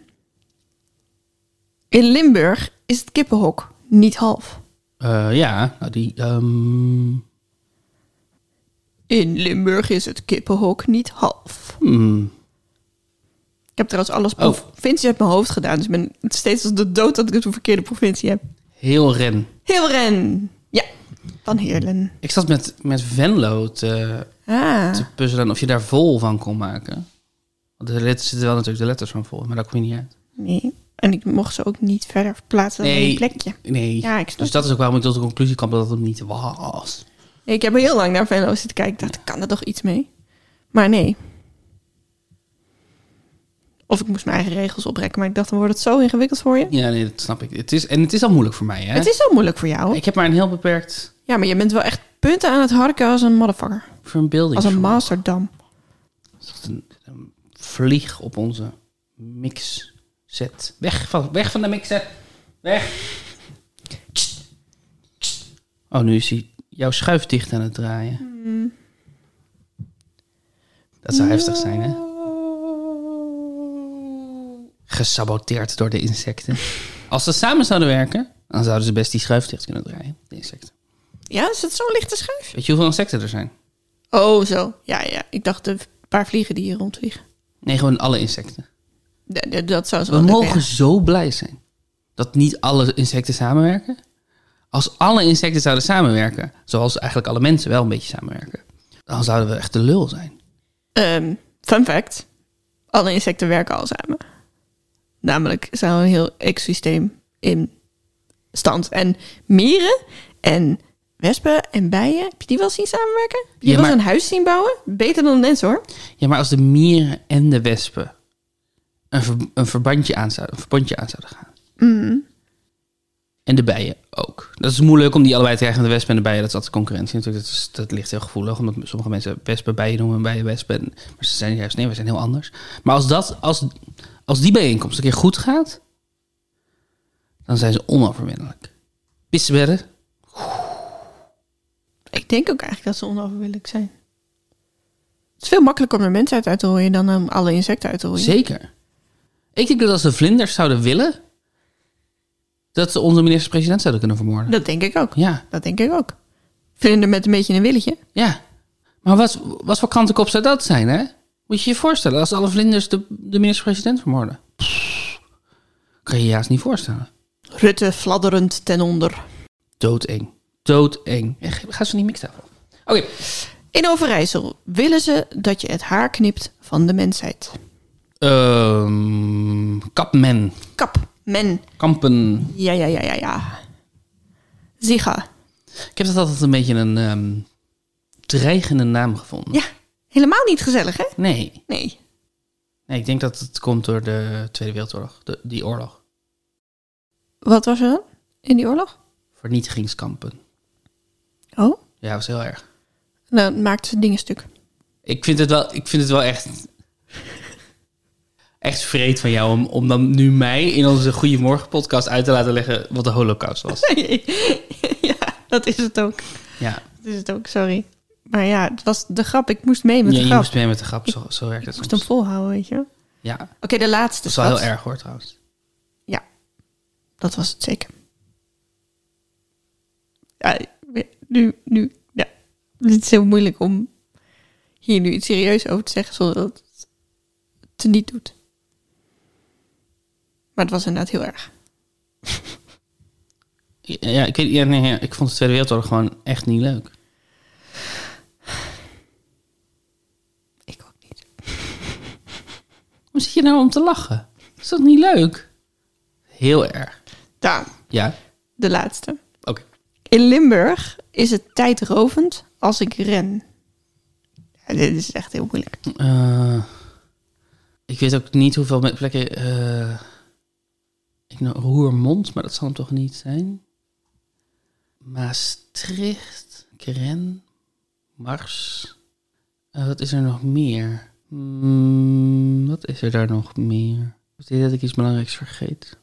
Speaker 2: In Limburg is het kippenhok niet half.
Speaker 1: Eh, ja, nou die, ehm,
Speaker 2: In Limburg is het kippenhok niet half.
Speaker 1: hmm.
Speaker 2: Ik heb trouwens alles
Speaker 1: Oh.
Speaker 2: provincies uit mijn hoofd gedaan. Dus ik ben het steeds als de dood dat ik het een verkeerde provincie heb.
Speaker 1: heel ren.
Speaker 2: Heelren. Ja, van Heerlen.
Speaker 1: Ik zat met, met Venlo te,
Speaker 2: Ah,
Speaker 1: te puzzelen of je daar vol van kon maken. Want er zitten wel natuurlijk de letters van vol, maar daar kom je niet uit.
Speaker 2: nee. En ik mocht ze ook niet verder verplaatsen dan
Speaker 1: Nee.
Speaker 2: een plekje.
Speaker 1: Nee.
Speaker 2: Ja, ik snap
Speaker 1: dus dat is ook waarom ik tot de conclusie kwam dat het hem niet was.
Speaker 2: Ik heb heel lang naar Venlo zitten kijken. Ik dacht, kan er toch iets mee? Maar nee. Of ik moest mijn eigen regels oprekken. Maar ik dacht, dan wordt het zo ingewikkeld voor je.
Speaker 1: Ja, nee, dat snap ik. Het is, en het is al moeilijk voor mij, hè?
Speaker 2: Het is zo moeilijk voor jou.
Speaker 1: Ik heb maar een heel beperkt
Speaker 2: Ja, maar je bent wel echt punten aan het harken als een motherfucker.
Speaker 1: verbeelding.
Speaker 2: Als een masterdam.
Speaker 1: een, een vlieg op onze mix set. Weg van, weg van de mix set. Weg. Oh, nu is hij jouw schuif dicht aan het draaien.
Speaker 2: Hmm.
Speaker 1: Dat zou heftig zijn, hè? Gesaboteerd door de insecten. [laughs] Als ze samen zouden werken, dan zouden ze best die schuif dicht kunnen draaien. De insecten.
Speaker 2: Ja, is het zo'n lichte schuif?
Speaker 1: Weet je hoeveel insecten er zijn?
Speaker 2: Oh, zo. Ja, ja. Ik dacht de paar vliegen die hier rondvliegen.
Speaker 1: Nee, gewoon alle insecten.
Speaker 2: D- d- dat zou zo
Speaker 1: We
Speaker 2: lukken,
Speaker 1: mogen
Speaker 2: ja.
Speaker 1: zo blij zijn dat niet alle insecten samenwerken. Als alle insecten zouden samenwerken, zoals eigenlijk alle mensen wel een beetje samenwerken, dan zouden we echt de lul zijn.
Speaker 2: Ehm, fun fact. Alle insecten werken al samen. Namelijk zijn een heel ecosysteem in stand. En mieren en wespen en bijen, heb je die wel zien samenwerken? Heb je
Speaker 1: Ja,
Speaker 2: wel
Speaker 1: maar-
Speaker 2: eens een huis zien bouwen? Beter dan een mens hoor.
Speaker 1: Ja, maar als de mieren en de wespen een, ver- een, verbandje aan zouden, een verbandje aan zouden gaan. En de bijen ook. Dat is moeilijk om die allebei te krijgen. want De wespen en de bijen, dat is altijd concurrentie natuurlijk. Dat, is- dat ligt heel gevoelig, omdat sommige mensen wespen bijen noemen en bijen wespen. En- Maar ze zijn juist, nee, we zijn heel anders. Maar als, dat, als, als die bijeenkomst een keer goed gaat, dan zijn ze onoverwinnelijk. Pissebedden,
Speaker 2: Ik denk ook eigenlijk dat ze onoverwinnelijk zijn. Het is veel makkelijker om een mens uit uit te rooien dan om alle insecten uit te rooien.
Speaker 1: Zeker. Ik denk dat als de vlinders zouden willen, dat ze onze minister-president zouden kunnen vermoorden.
Speaker 2: Dat denk ik ook.
Speaker 1: Ja,
Speaker 2: Dat denk ik ook. Vlinder met een beetje een willetje.
Speaker 1: ja. Maar wat, wat voor krantenkop zou dat zijn, hè? Moet je je voorstellen, als alle vlinders de, de minister-president vermoorden. Pff, kan je je juist niet voorstellen.
Speaker 2: Rutte fladderend ten onder.
Speaker 1: Doodeng. Doodeng. Echt, Ga ze niet mixtafel. Oké.
Speaker 2: In Overijssel willen ze dat je het haar knipt van de mensheid.
Speaker 1: Ehm, kapmen.
Speaker 2: Kap, men,
Speaker 1: Kampen.
Speaker 2: ja, ja, ja, ja, ja. Ziga.
Speaker 1: Ik heb dat altijd een beetje een ehm, dreigende naam gevonden.
Speaker 2: Ja, helemaal niet gezellig, hè?
Speaker 1: Nee.
Speaker 2: Nee.
Speaker 1: Nee, ik denk dat het komt door de Tweede Wereldoorlog. De, die oorlog.
Speaker 2: Wat was er dan in die oorlog?
Speaker 1: Vernietigingskampen.
Speaker 2: Oh,
Speaker 1: Ja, dat was heel erg.
Speaker 2: dan maakten ze dingen stuk. [laughs]
Speaker 1: Ik vind het wel, ik vind het wel echt... [laughs] Echt vreed van jou om, om dan nu mij in onze Goedemorgen podcast uit te laten leggen wat de holocaust
Speaker 2: [laughs]
Speaker 1: was.
Speaker 2: ja, dat is het ook.
Speaker 1: Ja,
Speaker 2: Dat is het ook, sorry. Maar ja, het was de grap. Ik moest mee met
Speaker 1: ja
Speaker 2: de
Speaker 1: je
Speaker 2: grap.
Speaker 1: moest mee met de grap, zo, zo werkt het
Speaker 2: Ik moest hem
Speaker 1: soms.
Speaker 2: volhouden, weet je. Oké,
Speaker 1: Ja, dat
Speaker 2: de laatste.
Speaker 1: is wel
Speaker 2: schat.
Speaker 1: heel erg hoor trouwens.
Speaker 2: Ja, dat was het zeker. Ja, nu, nu, ja. Het is heel moeilijk om hier nu iets serieus over te zeggen zonder dat het te niet doet. Maar het was inderdaad heel erg.
Speaker 1: Ja, ik, weet, ja, nee, ja, ik vond de Tweede Wereldoorlog gewoon echt niet leuk.
Speaker 2: Ik ook niet.
Speaker 1: Hoe zit je nou om te lachen? Is dat niet leuk? Heel erg.
Speaker 2: Daan,
Speaker 1: Ja,
Speaker 2: de laatste.
Speaker 1: oké.
Speaker 2: In Limburg is het tijdrovend als ik ren. Ja, dit is echt heel moeilijk.
Speaker 1: Eh, ik weet ook niet hoeveel me- plekken. eh ik nou, Roermond, maar dat zal hem toch niet zijn. Maastricht, Kren, Mars. Eh, wat is er nog meer? Hmm, wat is er daar nog meer? Ik denk dat ik iets belangrijks vergeet.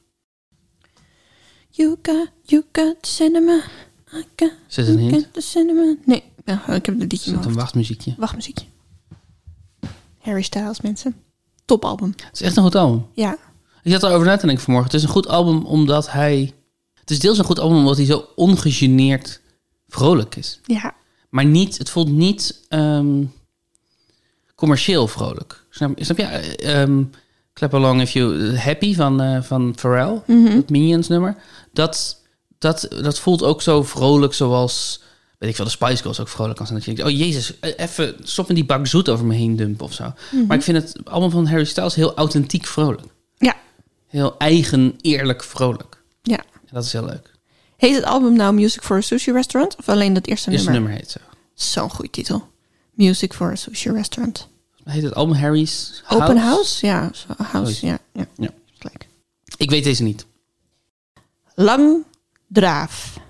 Speaker 2: You got, you got the cinema. I got,
Speaker 1: Zit een
Speaker 2: you
Speaker 1: hint?
Speaker 2: got the cinema. Nee, ja, ik heb het liedje in mijn
Speaker 1: Zit een
Speaker 2: hoofd.
Speaker 1: wachtmuziekje.
Speaker 2: Wachtmuziekje. Harry Styles, mensen. Topalbum.
Speaker 1: Het is echt een goed album.
Speaker 2: Ja.
Speaker 1: Ik zat erover na te denken vanmorgen. Het is een goed album omdat hij. Het is deels een goed album omdat hij zo ongegeneerd vrolijk is.
Speaker 2: Ja.
Speaker 1: Maar niet, het voelt niet ehm, commercieel vrolijk. Snap, snap je? Eh, ehm, Clap Along If You Happy van, eh, van Pharrell, dat Minions nummer. Dat, dat, dat voelt ook zo vrolijk zoals, weet ik veel, de Spice Girls ook vrolijk kan zijn. Dat je denkt, oh jezus, eh, even stop met die bak zoet over me heen dumpen of zo. Maar ik vind het allemaal van Harry Styles heel authentiek vrolijk.
Speaker 2: Ja.
Speaker 1: Heel eigen, eerlijk vrolijk.
Speaker 2: Ja.
Speaker 1: En dat is heel leuk.
Speaker 2: Heet het album nou Music for a Sushi Restaurant? Of alleen dat eerste
Speaker 1: Eerste
Speaker 2: nummer?
Speaker 1: nummer heet zo.
Speaker 2: Zo'n goede titel. Music for a Sushi Restaurant.
Speaker 1: Heet het album Harry's House?
Speaker 2: Open House? Ja, zo- house.
Speaker 1: Zoiets.
Speaker 2: Ja, ja.
Speaker 1: Ja.
Speaker 2: Gelijk.
Speaker 1: Ik weet deze niet.
Speaker 2: Lang Draaf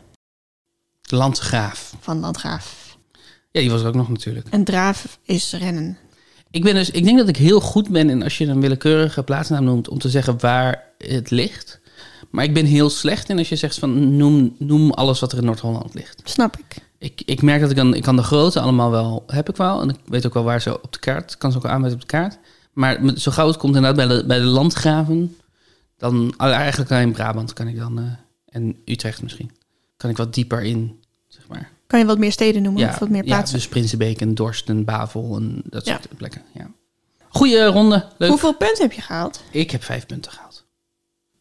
Speaker 1: Landgraaf.
Speaker 2: van Landgraaf.
Speaker 1: Ja, die was er ook nog natuurlijk.
Speaker 2: En draaf is rennen.
Speaker 1: Ik, ben dus, ik denk dat ik heel goed ben in als je een willekeurige plaatsnaam noemt om te zeggen waar het ligt. Maar ik ben heel slecht in als je zegt van noem, noem alles wat er in Noord-Holland ligt.
Speaker 2: Snap ik.
Speaker 1: Ik, ik merk dat ik dan, ik kan de grote allemaal wel, heb ik wel. En ik weet ook wel waar ze op de kaart, kan ze ook wel aanwijzen op de kaart. Maar met- zo gauw het komt inderdaad bij de, bij de landgraven, dan oh, eigenlijk alleen Brabant kan ik dan, eh, en Utrecht misschien, kan ik wat dieper in, zeg maar.
Speaker 2: Kan je wat meer steden noemen of wat meer
Speaker 1: ja,
Speaker 2: plaatsen?
Speaker 1: dus Prinsenbeek en Dorst en Bavel en dat
Speaker 2: Ja.
Speaker 1: soort plekken. Ja. Goeie ronde, leuk.
Speaker 2: Hoeveel punten heb je gehaald?
Speaker 1: Ik heb vijf punten gehaald.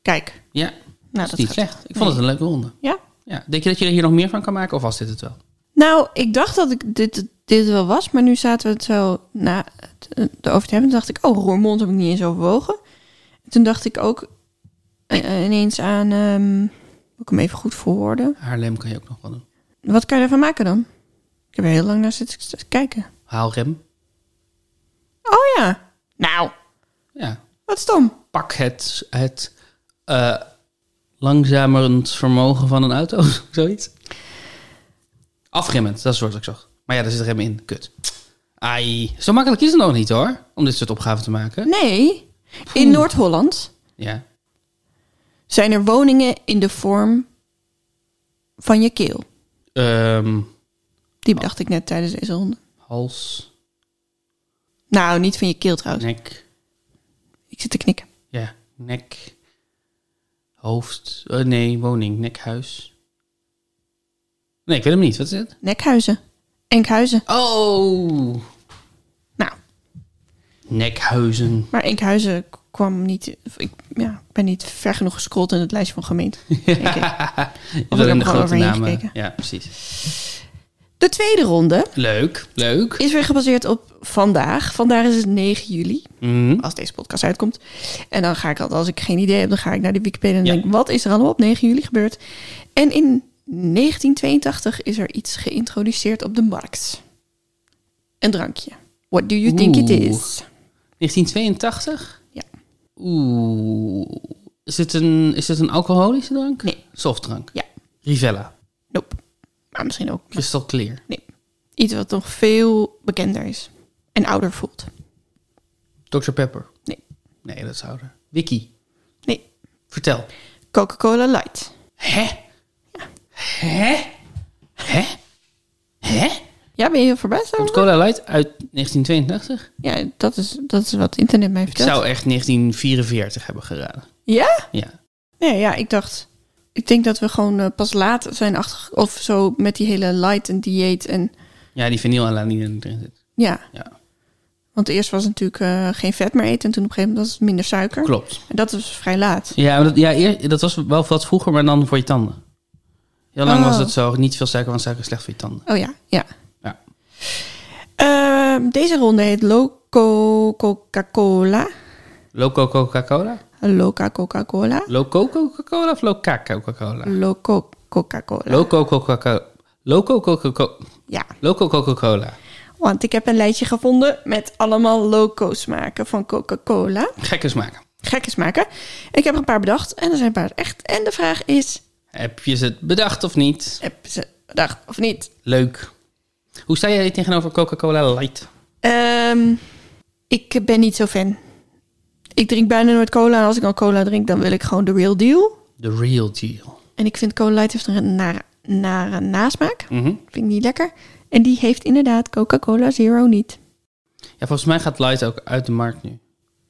Speaker 2: Kijk.
Speaker 1: Ja,
Speaker 2: Nou,
Speaker 1: dat is niet
Speaker 2: gaat-
Speaker 1: slecht. Ik vond het een leuke ronde.
Speaker 2: Ja?
Speaker 1: Ja. Denk je dat je er hier nog meer van kan maken of was dit het wel?
Speaker 2: Nou, ik dacht dat ik dit, dit wel was, maar nu zaten we het zo na het- erover te hebben. Toen dacht ik, oh, Roermond heb ik niet eens overwogen. En toen dacht ik ook eh, ineens aan, ehm moet ik hem even goed verwoorden.
Speaker 1: Haarlem kan je ook nog wel doen.
Speaker 2: Wat kan je daarvan maken dan? Ik heb er heel lang naar zitten te kijken.
Speaker 1: Haalrem.
Speaker 2: Oh ja, nou,
Speaker 1: Ja.
Speaker 2: wat stom.
Speaker 1: Pak het, het eh, langzamerend vermogen van een auto. [laughs] Zoiets. Afremmend, dat is het woord dat ik zag. Maar ja, daar zit rem in. Kut. Ai. Zo makkelijk is het nog niet hoor. Om dit soort opgaven te maken.
Speaker 2: Nee, in Noord-Holland
Speaker 1: Ja.
Speaker 2: zijn er woningen in de vorm van je keel.
Speaker 1: Ehm,
Speaker 2: Die bedacht ik net tijdens deze ronde.
Speaker 1: hals,
Speaker 2: Nou, niet van je keel trouwens.
Speaker 1: nek.
Speaker 2: Ik zit te knikken.
Speaker 1: Ja, nek. Hoofd. eh, nee, woning. Nekhuis. Nee, ik weet hem niet. Wat is het?
Speaker 2: Nekhuizen. Enkhuizen.
Speaker 1: Oh!
Speaker 2: Nou, [laughs]
Speaker 1: Nekhuizen.
Speaker 2: maar Enkhuizen k- kwam niet... of Ik ja, ik ben niet ver genoeg gescrollt in het lijstje van gemeenten. denk ik.
Speaker 1: Ik
Speaker 2: heb
Speaker 1: wil in
Speaker 2: er
Speaker 1: de
Speaker 2: gewoon
Speaker 1: grote
Speaker 2: overheen
Speaker 1: namen.
Speaker 2: gekeken.
Speaker 1: Ja, precies.
Speaker 2: De tweede ronde
Speaker 1: Leuk, leuk.
Speaker 2: is weer gebaseerd op vandaag. Vandaag is het 9 juli,
Speaker 1: Mhm.
Speaker 2: als deze podcast uitkomt. En dan ga ik altijd, als ik geen idee heb, dan ga ik naar de Wikipedia en
Speaker 1: Ja.
Speaker 2: denk... wat is er allemaal op 9 juli gebeurd? En in 1982 is er iets geïntroduceerd op de markt. Een drankje. What do you think it
Speaker 1: Oeh.
Speaker 2: is?
Speaker 1: 1982?
Speaker 2: Ja.
Speaker 1: Oeh. Is dit een, is dit een alcoholische drank?
Speaker 2: Nee.
Speaker 1: Softdrank?
Speaker 2: Ja.
Speaker 1: Rivella?
Speaker 2: Nope. Maar misschien ook
Speaker 1: Crystal Clear?
Speaker 2: Nee. Iets wat nog veel bekender is. En ouder voelt.
Speaker 1: Dr. Pepper?
Speaker 2: Nee.
Speaker 1: Nee, dat is ouder. Wiki?
Speaker 2: Nee.
Speaker 1: Vertel.
Speaker 2: Coca-Cola Light.
Speaker 1: Hè? Hè? Hè? Hè?
Speaker 2: Ja, ben je heel verbaasd
Speaker 1: Komt
Speaker 2: daarover?
Speaker 1: Cola Light uit 1982?
Speaker 2: Ja, dat is, dat is wat internet mij
Speaker 1: Ik
Speaker 2: vertelt.
Speaker 1: zou echt 1944 hebben geraden.
Speaker 2: Ja?
Speaker 1: Ja.
Speaker 2: Nee, ja, ik dacht... Ik denk dat we gewoon eh, pas laat zijn achter... Of zo met die hele light en dieet en...
Speaker 1: Ja, die vinylalanine die erin zit.
Speaker 2: Ja,
Speaker 1: Ja,
Speaker 2: want eerst was het natuurlijk eh, geen vet meer eten. En toen op een gegeven moment was het minder suiker.
Speaker 1: klopt.
Speaker 2: En dat was vrij laat.
Speaker 1: Ja, maar dat, ja eer- dat was wel wat vroeger, maar dan voor je tanden. Heel lang
Speaker 2: Oh.
Speaker 1: was dat zo. Niet veel suiker, want suiker is slecht voor je tanden.
Speaker 2: Oh ja, ja.
Speaker 1: Ja.
Speaker 2: Ehm, deze ronde heet Loco Coca-Cola.
Speaker 1: Loco Coca-Cola?
Speaker 2: Loca Coca-Cola.
Speaker 1: Loco Coca-Cola of Loca Coca-Cola?
Speaker 2: Loco Coca-Cola.
Speaker 1: Loco Coca-Cola. Loco Coca-Cola.
Speaker 2: ja,
Speaker 1: Loco Coca-Cola.
Speaker 2: want ik heb een lijstje gevonden met allemaal loco smaken van Coca-Cola.
Speaker 1: Gekke smaak.
Speaker 2: Gekke smaken. Ik heb er een paar bedacht en er zijn een paar echt. En de vraag is,
Speaker 1: Heb je ze bedacht of niet?
Speaker 2: heb je ze bedacht of niet?
Speaker 1: Leuk. Hoe sta jij tegenover Coca-Cola Light?
Speaker 2: Ehm, ik ben niet zo fan. Ik drink bijna nooit cola en als ik al cola drink, dan wil ik gewoon de real deal.
Speaker 1: The real deal.
Speaker 2: En ik vind cola light heeft een nare, nare nasmaak.
Speaker 1: Mhm.
Speaker 2: Vind ik niet lekker. En die heeft inderdaad Coca-Cola Zero niet.
Speaker 1: Ja, volgens mij gaat Light ook uit de markt nu.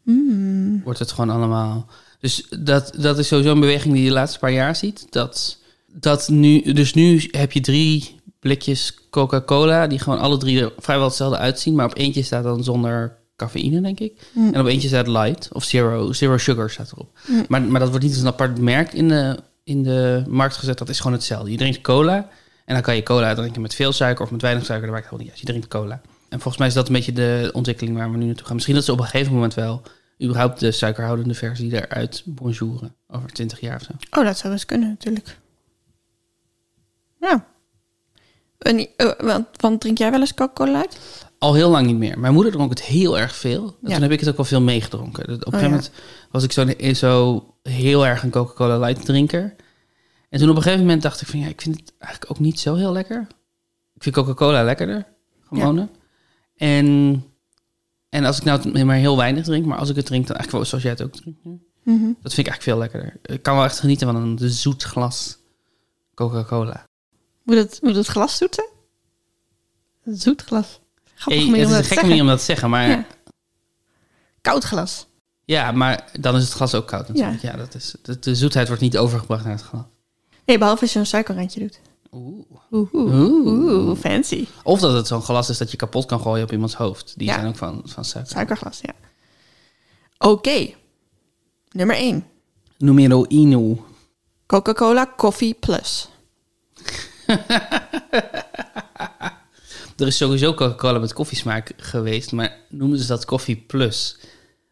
Speaker 2: Mm.
Speaker 1: wordt het gewoon allemaal. Dus dat, dat is sowieso een beweging die je de laatste paar jaar ziet. Dat, dat nu, dus nu heb je drie blikjes Coca-Cola, die gewoon alle drie er vrijwel hetzelfde uitzien. Maar op eentje staat dan zonder cafeïne, denk ik.
Speaker 2: Mm.
Speaker 1: En op eentje staat light of zero, zero sugar staat erop. Maar, maar dat wordt niet als een apart merk in de, in de markt gezet. Dat is gewoon hetzelfde. Je drinkt cola en dan kan je cola drinken met veel suiker of met weinig suiker. Dat maakt helemaal niet uit. Je drinkt cola. En volgens mij is dat een beetje de ontwikkeling waar we nu naartoe gaan. Misschien dat ze op een gegeven moment wel überhaupt de suikerhoudende versie eruit bonjouren. Over 20 jaar of zo.
Speaker 2: Oh, dat zou best kunnen natuurlijk. Ja. En, eh, want, want drink jij wel eens Coca-Cola uit?
Speaker 1: Al heel lang niet meer. Mijn moeder dronk het heel erg veel. En
Speaker 2: Ja.
Speaker 1: toen heb ik het ook wel veel meegedronken. Dus Op een
Speaker 2: Oh,
Speaker 1: gegeven
Speaker 2: ja.
Speaker 1: moment was ik zo, zo heel erg een Coca-Cola light drinker. En toen op een gegeven moment dacht ik van... ja, ik vind het eigenlijk ook niet zo heel lekker. Ik vind Coca-Cola lekkerder. Gewone. En, en als ik nou het maar heel weinig drink... maar als ik het drink, dan eigenlijk wel zoals jij het ook drinkt. nu.
Speaker 2: Mhm.
Speaker 1: Dat vind ik eigenlijk veel lekkerder. Ik kan wel echt genieten van een zoet glas Coca-Cola.
Speaker 2: Moet, het, moet het glas zoeten? Een Zoet glas. Grappig
Speaker 1: Hey,
Speaker 2: manier
Speaker 1: het is
Speaker 2: om dat
Speaker 1: een
Speaker 2: te
Speaker 1: gekke
Speaker 2: zeggen.
Speaker 1: manier om dat te zeggen, maar...
Speaker 2: Ja. Koud glas.
Speaker 1: Ja, maar dan is het glas ook koud natuurlijk. Ja, dat is, de, de zoetheid wordt niet overgebracht naar het glas.
Speaker 2: Nee, behalve als je een suikerrandje doet.
Speaker 1: Oeh.
Speaker 2: Oeh, oeh,
Speaker 1: Oeh.
Speaker 2: oeh, fancy.
Speaker 1: Of dat het zo'n glas is dat je kapot kan gooien op iemands hoofd. Die
Speaker 2: Ja.
Speaker 1: zijn ook van, van suiker.
Speaker 2: Suikerglas, ja. Oké. Nummer 1.
Speaker 1: Numero uno.
Speaker 2: Coca-Cola Coffee Plus.
Speaker 1: Er is sowieso Coca-Cola met koffiesmaak geweest, maar noemen ze dat koffie plus?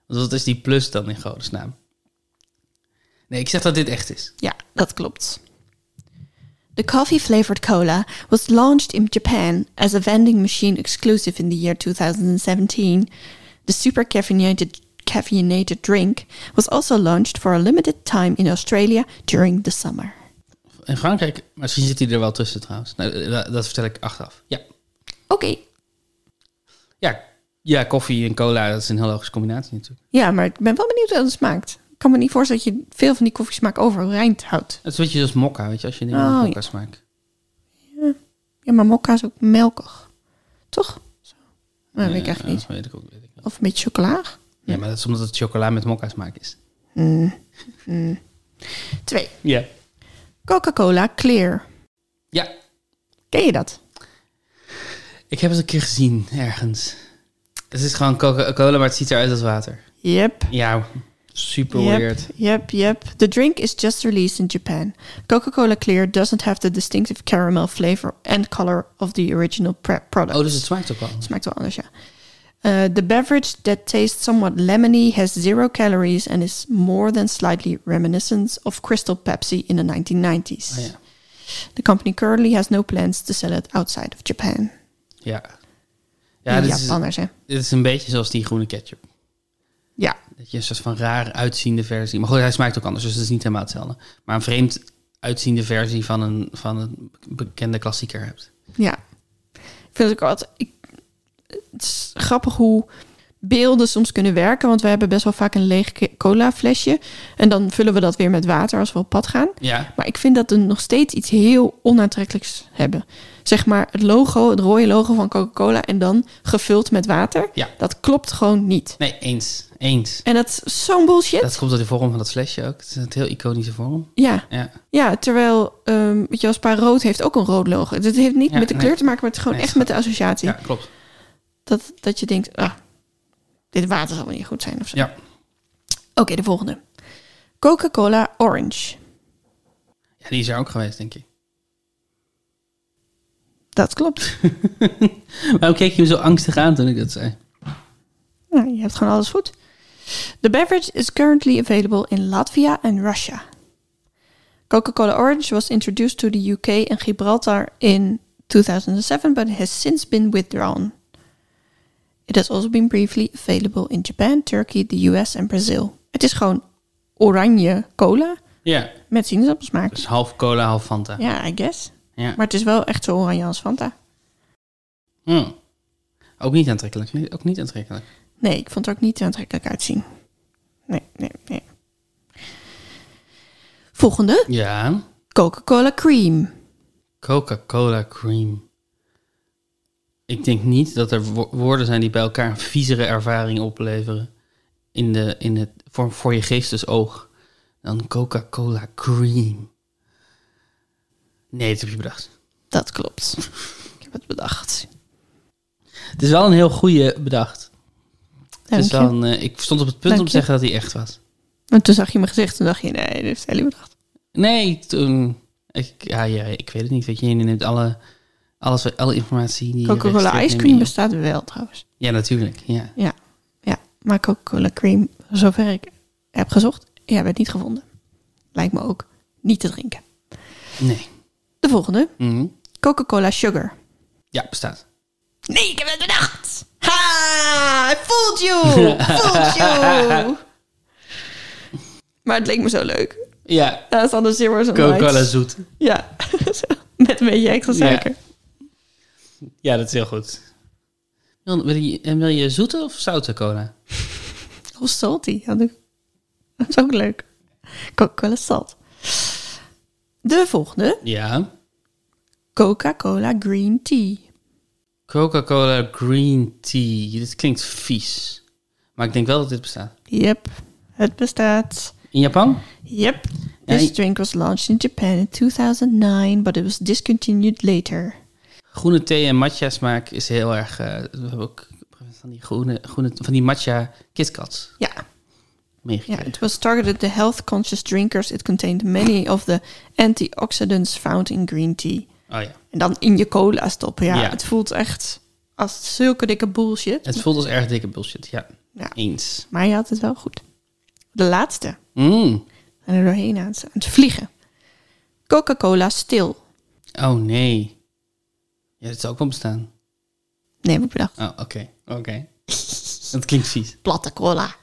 Speaker 1: Want wat is die plus dan in godesnaam? Nee, ik zeg dat dit echt is.
Speaker 2: Ja, dat klopt. The coffee-flavored cola was launched in Japan as a vending machine exclusive in the year 2017. The super caffeinated, caffeinated drink was also launched for a limited time in Australia during the summer.
Speaker 1: In Frankrijk, misschien zit hij er wel tussen trouwens. Nou, dat, dat vertel ik achteraf. Ja.
Speaker 2: Oké.
Speaker 1: Ja, ja, koffie en cola, dat is een heel logische combinatie natuurlijk.
Speaker 2: Ja, maar ik ben wel benieuwd hoe dat smaakt. Ik kan me niet voorstellen dat je veel van die koffiesmaak overeind houdt.
Speaker 1: Het is een beetje zoals mokka, weet je, als je dingen
Speaker 2: Oh,
Speaker 1: met
Speaker 2: ja.
Speaker 1: mokka smaakt.
Speaker 2: Ja, maar mokka is ook melkig. Toch? Zo. Nou, dat weet ik echt
Speaker 1: Ja,
Speaker 2: niet.
Speaker 1: Weet ik ook, weet ik wel.
Speaker 2: Of een beetje chocola.
Speaker 1: Ja, maar dat is omdat het chocola met mokka smaak is.
Speaker 2: Twee.
Speaker 1: Ja.
Speaker 2: Coca-Cola Clear.
Speaker 1: Ja,
Speaker 2: Ken je dat?
Speaker 1: ik heb het een keer gezien ergens. Het is gewoon Coca-Cola, maar het ziet eruit als water.
Speaker 2: Yep.
Speaker 1: Ja, super
Speaker 2: Yep,
Speaker 1: weird.
Speaker 2: yep, yep. The drink is just released in Japan. Coca-Cola Clear doesn't have the distinctive caramel flavor and color of the original pre- product.
Speaker 1: Oh, dus het smaakt ook wel.
Speaker 2: Smaakt wel anders, ja. Uh, the beverage that tastes somewhat lemony has zero calories and is more than slightly reminiscent of Crystal Pepsi in the 1990s.
Speaker 1: Oh, ja.
Speaker 2: The company currently has no plans to sell it outside of Japan.
Speaker 1: ja.
Speaker 2: Ja,
Speaker 1: Ja, dit is,
Speaker 2: Japanners, hè?
Speaker 1: dit is een beetje zoals die groene ketchup.
Speaker 2: Ja,
Speaker 1: Dat je een soort van raar uitziende versie... Maar goed, hij smaakt ook anders, dus het is niet helemaal hetzelfde. Maar een vreemd uitziende versie van een, van een bekende klassieker hebt.
Speaker 2: ja. Ik vind het ook altijd... Ik, het is grappig hoe beelden soms kunnen werken. Want we hebben best wel vaak een leeg ke- cola flesje. En dan vullen we dat weer met water als we op pad gaan.
Speaker 1: Ja,
Speaker 2: Maar ik vind dat we nog steeds iets heel onaantrekkelijks hebben. Zeg maar het logo, het rode logo van Coca-Cola en dan gevuld met water.
Speaker 1: Ja.
Speaker 2: Dat klopt gewoon niet.
Speaker 1: nee, eens. Eens.
Speaker 2: En dat is zo'n bullshit.
Speaker 1: Dat komt door de vorm van dat flesje ook. Het is een heel iconische vorm.
Speaker 2: Ja.
Speaker 1: Ja.
Speaker 2: ja, terwijl, ehm weet je wel, Spa Rood heeft ook een rood logo. Dit heeft niet
Speaker 1: Ja,
Speaker 2: met de
Speaker 1: nee.
Speaker 2: kleur te maken, maar het is gewoon
Speaker 1: Nee,
Speaker 2: echt met de associatie.
Speaker 1: Ja, klopt.
Speaker 2: Dat, dat je denkt, ah, dit water zal wel niet goed zijn of zo.
Speaker 1: Ja.
Speaker 2: Oké, de volgende. Coca-Cola Orange.
Speaker 1: ja, die is er ook geweest, denk ik.
Speaker 2: Dat klopt.
Speaker 1: [laughs] Waarom keek je me zo angstig aan toen ik dat zei?
Speaker 2: nou, je hebt gewoon alles goed. The beverage is currently available in Latvia and Russia. Coca-Cola Orange was introduced to the UK and Gibraltar in 2007, but has since been withdrawn. It has also been briefly available in Japan, Turkey, the US en Brazil. Het is gewoon oranje cola
Speaker 1: Ja.
Speaker 2: met sinaasappelsmaak.
Speaker 1: Dus half cola, half Fanta. Ja.
Speaker 2: Ja, I guess. Maar het is wel echt zo oranje als Fanta.
Speaker 1: Hm. Ook niet aantrekkelijk. Nee, ook niet aantrekkelijk.
Speaker 2: Nee, ik vond het ook niet aantrekkelijk uitzien. Nee, nee, nee. Volgende.
Speaker 1: Ja.
Speaker 2: Coca-Cola Cream.
Speaker 1: Coca-Cola cream. Ik denk niet dat er wo- woorden zijn die bij elkaar een viezere ervaring opleveren. In de, in het, voor, voor je geestesoog. Dan Coca-Cola cream. Nee, dat heb je bedacht.
Speaker 2: Dat klopt. ik heb het bedacht.
Speaker 1: Het is wel een heel goede bedacht.
Speaker 2: Dank
Speaker 1: dus
Speaker 2: je.
Speaker 1: dan, eh, ik stond op het punt
Speaker 2: Dank
Speaker 1: om te
Speaker 2: je.
Speaker 1: zeggen dat hij echt was.
Speaker 2: En toen zag je mijn gezicht en dacht je, nee, dit heeft Ellie bedacht.
Speaker 1: Nee, toen. Ik, ja, ja, ik weet het niet. Weet je, je neemt alle, alles, alle informatie. die je
Speaker 2: Coca-Cola
Speaker 1: registreert,
Speaker 2: Ice
Speaker 1: neem
Speaker 2: Cream
Speaker 1: je in.
Speaker 2: bestaat wel trouwens.
Speaker 1: Ja, natuurlijk. Ja.
Speaker 2: Ja, ja. Maar Coca-Cola Cream, zover ik heb gezocht, ja, werd niet gevonden. Lijkt me ook niet te drinken.
Speaker 1: Nee.
Speaker 2: De volgende.
Speaker 1: Mhm.
Speaker 2: Coca-Cola Sugar.
Speaker 1: Ja, bestaat.
Speaker 2: Nee, ik heb het bedacht! Ha! I fooled [laughs] you! fooled you! Maar het leek me zo leuk.
Speaker 1: Ja,
Speaker 2: Daar staan de zero's en
Speaker 1: Coca-Cola
Speaker 2: lights.
Speaker 1: zoet.
Speaker 2: Ja, [laughs] Zo, met een beetje extra
Speaker 1: Ja.
Speaker 2: suiker.
Speaker 1: Ja, dat is heel goed. Wil, wil, je, en wil je zoete of zoute cola?
Speaker 2: Of Oh, salty. had ik- Dat is ook leuk. Coca-Cola salt. De volgende.
Speaker 1: Ja.
Speaker 2: Coca-Cola green tea.
Speaker 1: Coca-Cola green tea. Dit klinkt vies. Maar ik denk wel dat dit bestaat.
Speaker 2: Yep, het bestaat.
Speaker 1: In Japan?
Speaker 2: Yep.
Speaker 1: Ja,
Speaker 2: This
Speaker 1: je-
Speaker 2: drink was launched in Japan in 2009, but it was discontinued later.
Speaker 1: Groene thee en matcha smaak is heel erg... eh, we hebben ook van die, groene, groene, van die matcha KitKats
Speaker 2: Ja, ja,
Speaker 1: meegekregen.
Speaker 2: it was targeted to health conscious drinkers. It contained many of the antioxidants found in green tea.
Speaker 1: Oh ja.
Speaker 2: En dan in je cola stoppen. Ja,
Speaker 1: Ja.
Speaker 2: het voelt echt als zulke dikke bullshit.
Speaker 1: Het voelt als erg dikke bullshit. Ja,
Speaker 2: Ja.
Speaker 1: eens.
Speaker 2: Maar je had het wel goed. De laatste.
Speaker 1: Mm.
Speaker 2: En er doorheen aan het, aan het vliegen. Coca-Cola stil.
Speaker 1: Oh nee. Ja, dit zou ook wel bestaan.
Speaker 2: Nee, heb ik bedacht.
Speaker 1: Oh, oké. Oké.
Speaker 2: [laughs]
Speaker 1: Dat klinkt vies.
Speaker 2: platte cola.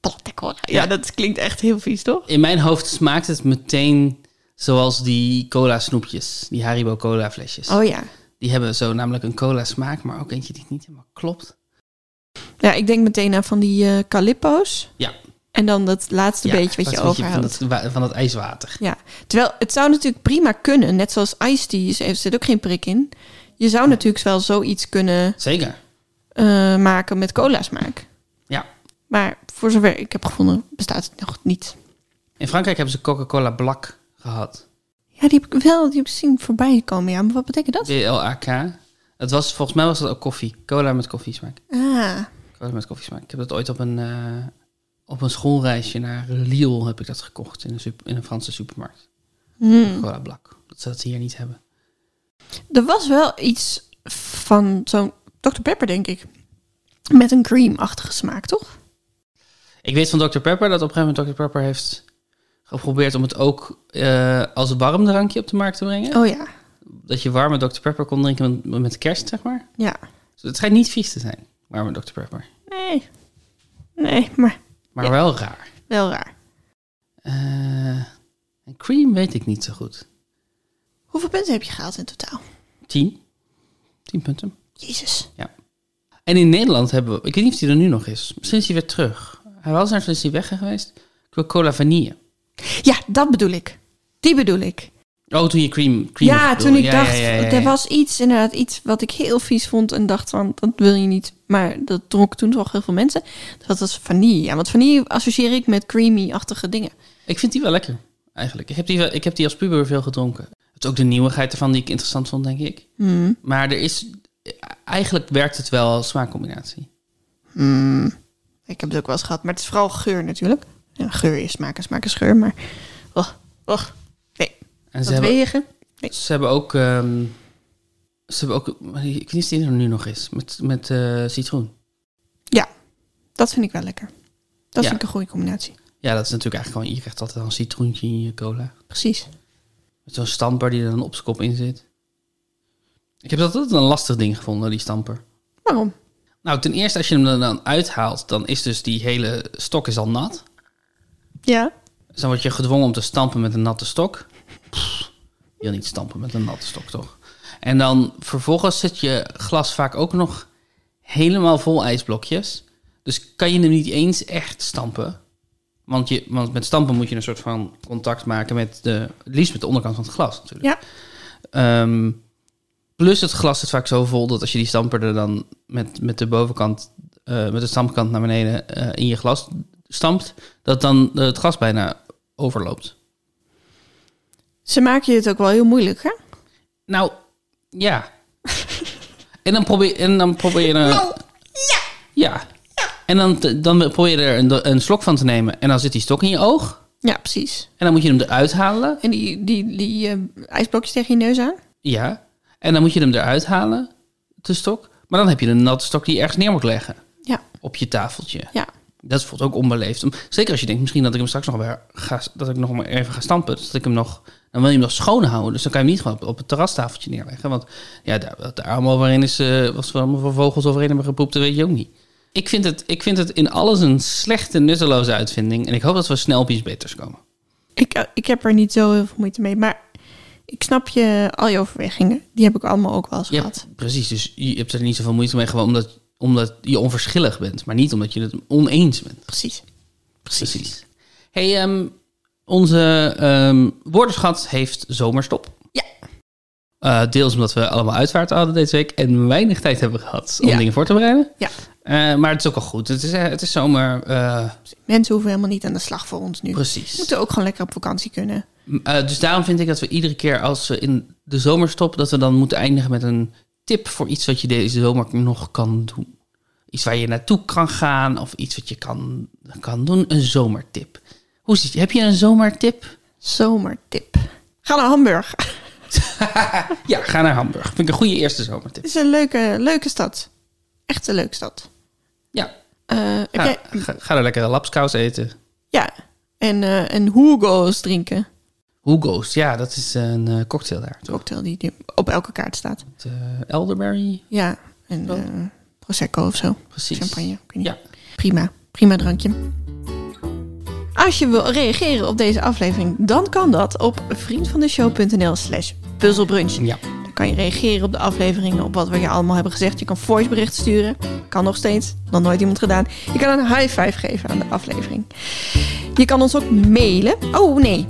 Speaker 2: Platte cola. Ja, dat klinkt echt heel vies, toch?
Speaker 1: In mijn hoofd smaakt het meteen zoals die cola snoepjes. Die Haribo cola flesjes.
Speaker 2: Oh ja.
Speaker 1: Die hebben zo namelijk een cola smaak, maar ook eentje die niet helemaal klopt.
Speaker 2: Ja, ik denk meteen aan van die eh calippo's.
Speaker 1: Ja.
Speaker 2: En dan dat laatste
Speaker 1: Ja,
Speaker 2: beetje wat je
Speaker 1: dat beetje van
Speaker 2: overhoudt.
Speaker 1: dat, wa- van dat ijswater.
Speaker 2: Ja, terwijl het zou natuurlijk prima kunnen. Net zoals iced tea, is- er zit ook geen prik in. Je zou natuurlijk wel zoiets kunnen
Speaker 1: Zeker.
Speaker 2: eh, maken met cola smaak.
Speaker 1: Ja.
Speaker 2: Maar voor zover ik heb gevonden, bestaat het nog niet.
Speaker 1: In Frankrijk hebben ze Coca-Cola Blak gehad.
Speaker 2: Ja, die heb ik wel die heb ik zien voorbij komen. Ja, maar wat betekent dat?
Speaker 1: B-L-A-K. Het was, volgens mij was dat ook koffie. Cola met koffiesmaak.
Speaker 2: Ah,
Speaker 1: Cola met koffiesmaak. Ik heb dat ooit op een, eh, op een schoolreisje naar Lille heb ik dat gekocht in een, sup- in een Franse supermarkt.
Speaker 2: hmm.
Speaker 1: Cola Blak. Dat ze dat hier niet hebben.
Speaker 2: Er was wel iets van zo'n Dr. Pepper, denk ik. Met een cream-achtige smaak, toch?
Speaker 1: Ik weet van Dr. Pepper dat op een gegeven moment Dr. Pepper heeft geprobeerd om het ook eh, als warm drankje op de markt te brengen.
Speaker 2: Oh ja,
Speaker 1: Dat je warme Dr. Pepper kon drinken met, met kerst, zeg maar.
Speaker 2: ja.
Speaker 1: Dus het schijnt niet vies te zijn, warme Dr. Pepper.
Speaker 2: Nee, nee, maar
Speaker 1: Maar
Speaker 2: Ja.
Speaker 1: wel raar.
Speaker 2: wel raar.
Speaker 1: Eh, en cream weet ik niet zo goed.
Speaker 2: Hoeveel punten heb je gehaald in totaal?
Speaker 1: Tien. Tien punten.
Speaker 2: Jezus.
Speaker 1: En in Nederland hebben we... Ik weet niet of die er nu nog is. Misschien is hij weer terug. Hij was er, toen is hij weg geweest. Coca-Cola vanille.
Speaker 2: Ja, dat bedoel ik. Die bedoel ik.
Speaker 1: Oh, toen je cream... cream
Speaker 2: ja,
Speaker 1: nog
Speaker 2: toen ik
Speaker 1: bedoelde.
Speaker 2: dacht,
Speaker 1: ja, ja, ja,
Speaker 2: er
Speaker 1: ja.
Speaker 2: was iets, inderdaad, iets wat ik heel vies vond en dacht van, dat wil je niet. Maar dat dronken toen toch heel veel mensen. Dat was vanille. Ja, want vanille associeer ik met creamy-achtige dingen.
Speaker 1: Ik vind die wel lekker, eigenlijk. Ik heb die, wel, ik heb die als puber veel gedronken. Het is ook de nieuwigheid ervan die ik interessant vond, denk ik.
Speaker 2: Hmm.
Speaker 1: Maar er is... Eigenlijk werkt het wel als smaakcombinatie.
Speaker 2: Mm, ik heb het ook wel eens gehad, maar het is vooral geur natuurlijk. Ja, geur is smaak en smaak is geur, maar... Oh, oh, nee,
Speaker 1: En ze
Speaker 2: dat
Speaker 1: hebben,
Speaker 2: wegen.
Speaker 1: ze hebben ook... ehm, ze hebben ook... Ik weet niet of die er nu nog is. Met, met eh, citroen.
Speaker 2: Dat vind ik wel lekker. Dat
Speaker 1: Ja.
Speaker 2: vind ik een goede combinatie.
Speaker 1: Ja, dat is natuurlijk eigenlijk gewoon... Je krijgt altijd al een citroentje in je cola.
Speaker 2: Precies.
Speaker 1: Met zo'n stamper die er dan op z'n kop in zit. Ik heb dat altijd een lastig ding gevonden, die stamper.
Speaker 2: Waarom?
Speaker 1: Nou, ten eerste, als je hem er dan uithaalt... dan is dus die hele stok is al nat.
Speaker 2: Ja.
Speaker 1: Dus dan word je gedwongen om te stampen met een natte stok. Pff, je wil niet stampen met een natte stok, toch? En dan vervolgens zit je glas vaak ook nog helemaal vol ijsblokjes. Dus kan je hem niet eens echt stampen. Want, je, want met stampen moet je een soort van contact maken met de... Het liefst met de onderkant van het glas natuurlijk.
Speaker 2: Ja.
Speaker 1: Ehm, plus het glas zit vaak zo vol dat als je die stamper er dan met, met de bovenkant, eh, met de stampkant naar beneden eh, in je glas stampt, dat dan eh, het glas bijna overloopt.
Speaker 2: Ze maken je het ook wel heel moeilijk, hè?
Speaker 1: Nou, ja. en dan probeer, en dan probeer je er.
Speaker 2: Nou.
Speaker 1: ja. En dan, te- dan probeer je er een, een slok van te nemen. En dan zit die stok in je oog.
Speaker 2: Ja, precies.
Speaker 1: En dan moet je hem eruit halen.
Speaker 2: En die, die, die eh, ijsblokjes tegen je neus aan?
Speaker 1: Ja. En dan moet je hem eruit halen, de stok. Maar dan heb je een natte stok die je ergens neer moet leggen.
Speaker 2: Ja.
Speaker 1: Op je tafeltje.
Speaker 2: Ja.
Speaker 1: Dat is bijvoorbeeld ook onbeleefd. Om- Zeker als je denkt misschien dat ik hem straks nog weer ga, dat ik nog maar even ga stampen. Dus dat ik hem nog, dan wil je hem nog schoon houden. Dus dan kan je hem niet gewoon op, op het terrastafeltje neerleggen. Want ja, daar, wat daar allemaal waarin is, eh was er allemaal voor vogels overheen hebben gepoept, dat weet je ook niet. Ik vind, het, ik vind het in alles een slechte, nutteloze uitvinding. En ik hoop dat we snel op iets beters komen.
Speaker 2: Ik, eh, ik heb er niet zo heel veel moeite mee. Maar ik snap je, al je overwegingen. Die heb ik allemaal ook wel eens
Speaker 1: Ja,
Speaker 2: gehad.
Speaker 1: precies. Dus je hebt er niet zoveel moeite mee, gewoon omdat, omdat je onverschillig bent. Maar niet omdat je het oneens bent.
Speaker 2: Precies.
Speaker 1: Precies. Hey, ehm, onze ehm, woordenschat heeft zomerstop.
Speaker 2: Ja.
Speaker 1: Eh, deels omdat we allemaal uitvaart hadden deze week en weinig tijd hebben gehad om
Speaker 2: Ja.
Speaker 1: dingen voor te bereiden.
Speaker 2: Ja.
Speaker 1: Eh, maar het is ook al goed. Het is, eh, het is zomer. eh,
Speaker 2: Mensen hoeven helemaal niet aan de slag voor ons nu. Ze
Speaker 1: precies.
Speaker 2: moeten ook gewoon lekker op vakantie kunnen.
Speaker 1: M, eh, dus daarom vind ik dat we iedere keer als we in de zomer stoppen, dat we dan moeten eindigen met een tip voor iets wat je deze zomer nog kan doen. Iets waar je naartoe kan gaan of iets wat je kan, kan doen. Een zomertip. Hoe zit je? Heb je een zomertip?
Speaker 2: Zomertip. Ga naar Hamburg. [laughs]
Speaker 1: Ja, ga naar Hamburg. Vind ik een goede eerste zomertip.
Speaker 2: Het is een leuke, leuke stad. Echt een leuke stad.
Speaker 1: Ja,
Speaker 2: Eh, heb
Speaker 1: ga,
Speaker 2: jij-
Speaker 1: ga, ga er lekker lapskaus eten.
Speaker 2: ja. En, eh en Hugo's drinken.
Speaker 1: Hugo's, ja, dat is een eh, cocktail daar.
Speaker 2: De cocktail die, die op elke kaart staat.
Speaker 1: Met, eh, elderberry,
Speaker 2: Ja. En
Speaker 1: Wel.
Speaker 2: eh, Prosecco of zo.
Speaker 1: precies.
Speaker 2: Champagne. ik weet niet.
Speaker 1: Ja,
Speaker 2: Prima. Prima drankje. Als je wil reageren op deze aflevering, dan kan dat op vriendvandeshow.nl slash puzzelbrunch.
Speaker 1: ja.
Speaker 2: Dan kan je reageren op de afleveringen, op wat we je allemaal hebben gezegd. Je kan voiceberichten sturen. Kan nog steeds. Nog nooit iemand gedaan. Je kan een high five geven aan de aflevering. Je kan ons ook mailen. Oh nee.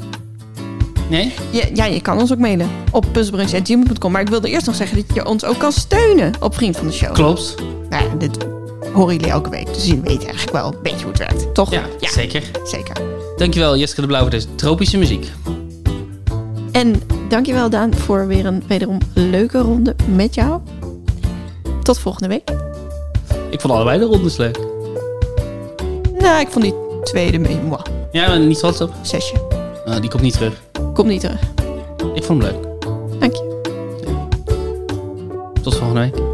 Speaker 1: Nee?
Speaker 2: Je- ja, je kan ons ook mailen op puzzelbrunch.gmail.com. Maar ik wilde eerst nog zeggen dat je ons ook kan steunen op Vriend van de Show.
Speaker 1: Klopt.
Speaker 2: Nou ja, dit horen jullie elke week. Dus jullie weten eigenlijk wel een beetje hoe het werkt. Toch?
Speaker 1: Ja, zeker.
Speaker 2: zeker.
Speaker 1: Dankjewel Jessica de Blauw voor deze tropische muziek.
Speaker 2: En dankjewel Daan voor weer een wederom leuke ronde met jou. Tot volgende week.
Speaker 1: Ik vond allebei de rondes leuk.
Speaker 2: Nou, ik vond die tweede mee. Mwah.
Speaker 1: Ja, maar niet trots op.
Speaker 2: Zesje.
Speaker 1: Ah, die komt niet terug.
Speaker 2: Kom niet terug.
Speaker 1: Ik vond hem leuk.
Speaker 2: Dank je.
Speaker 1: Tot volgende week.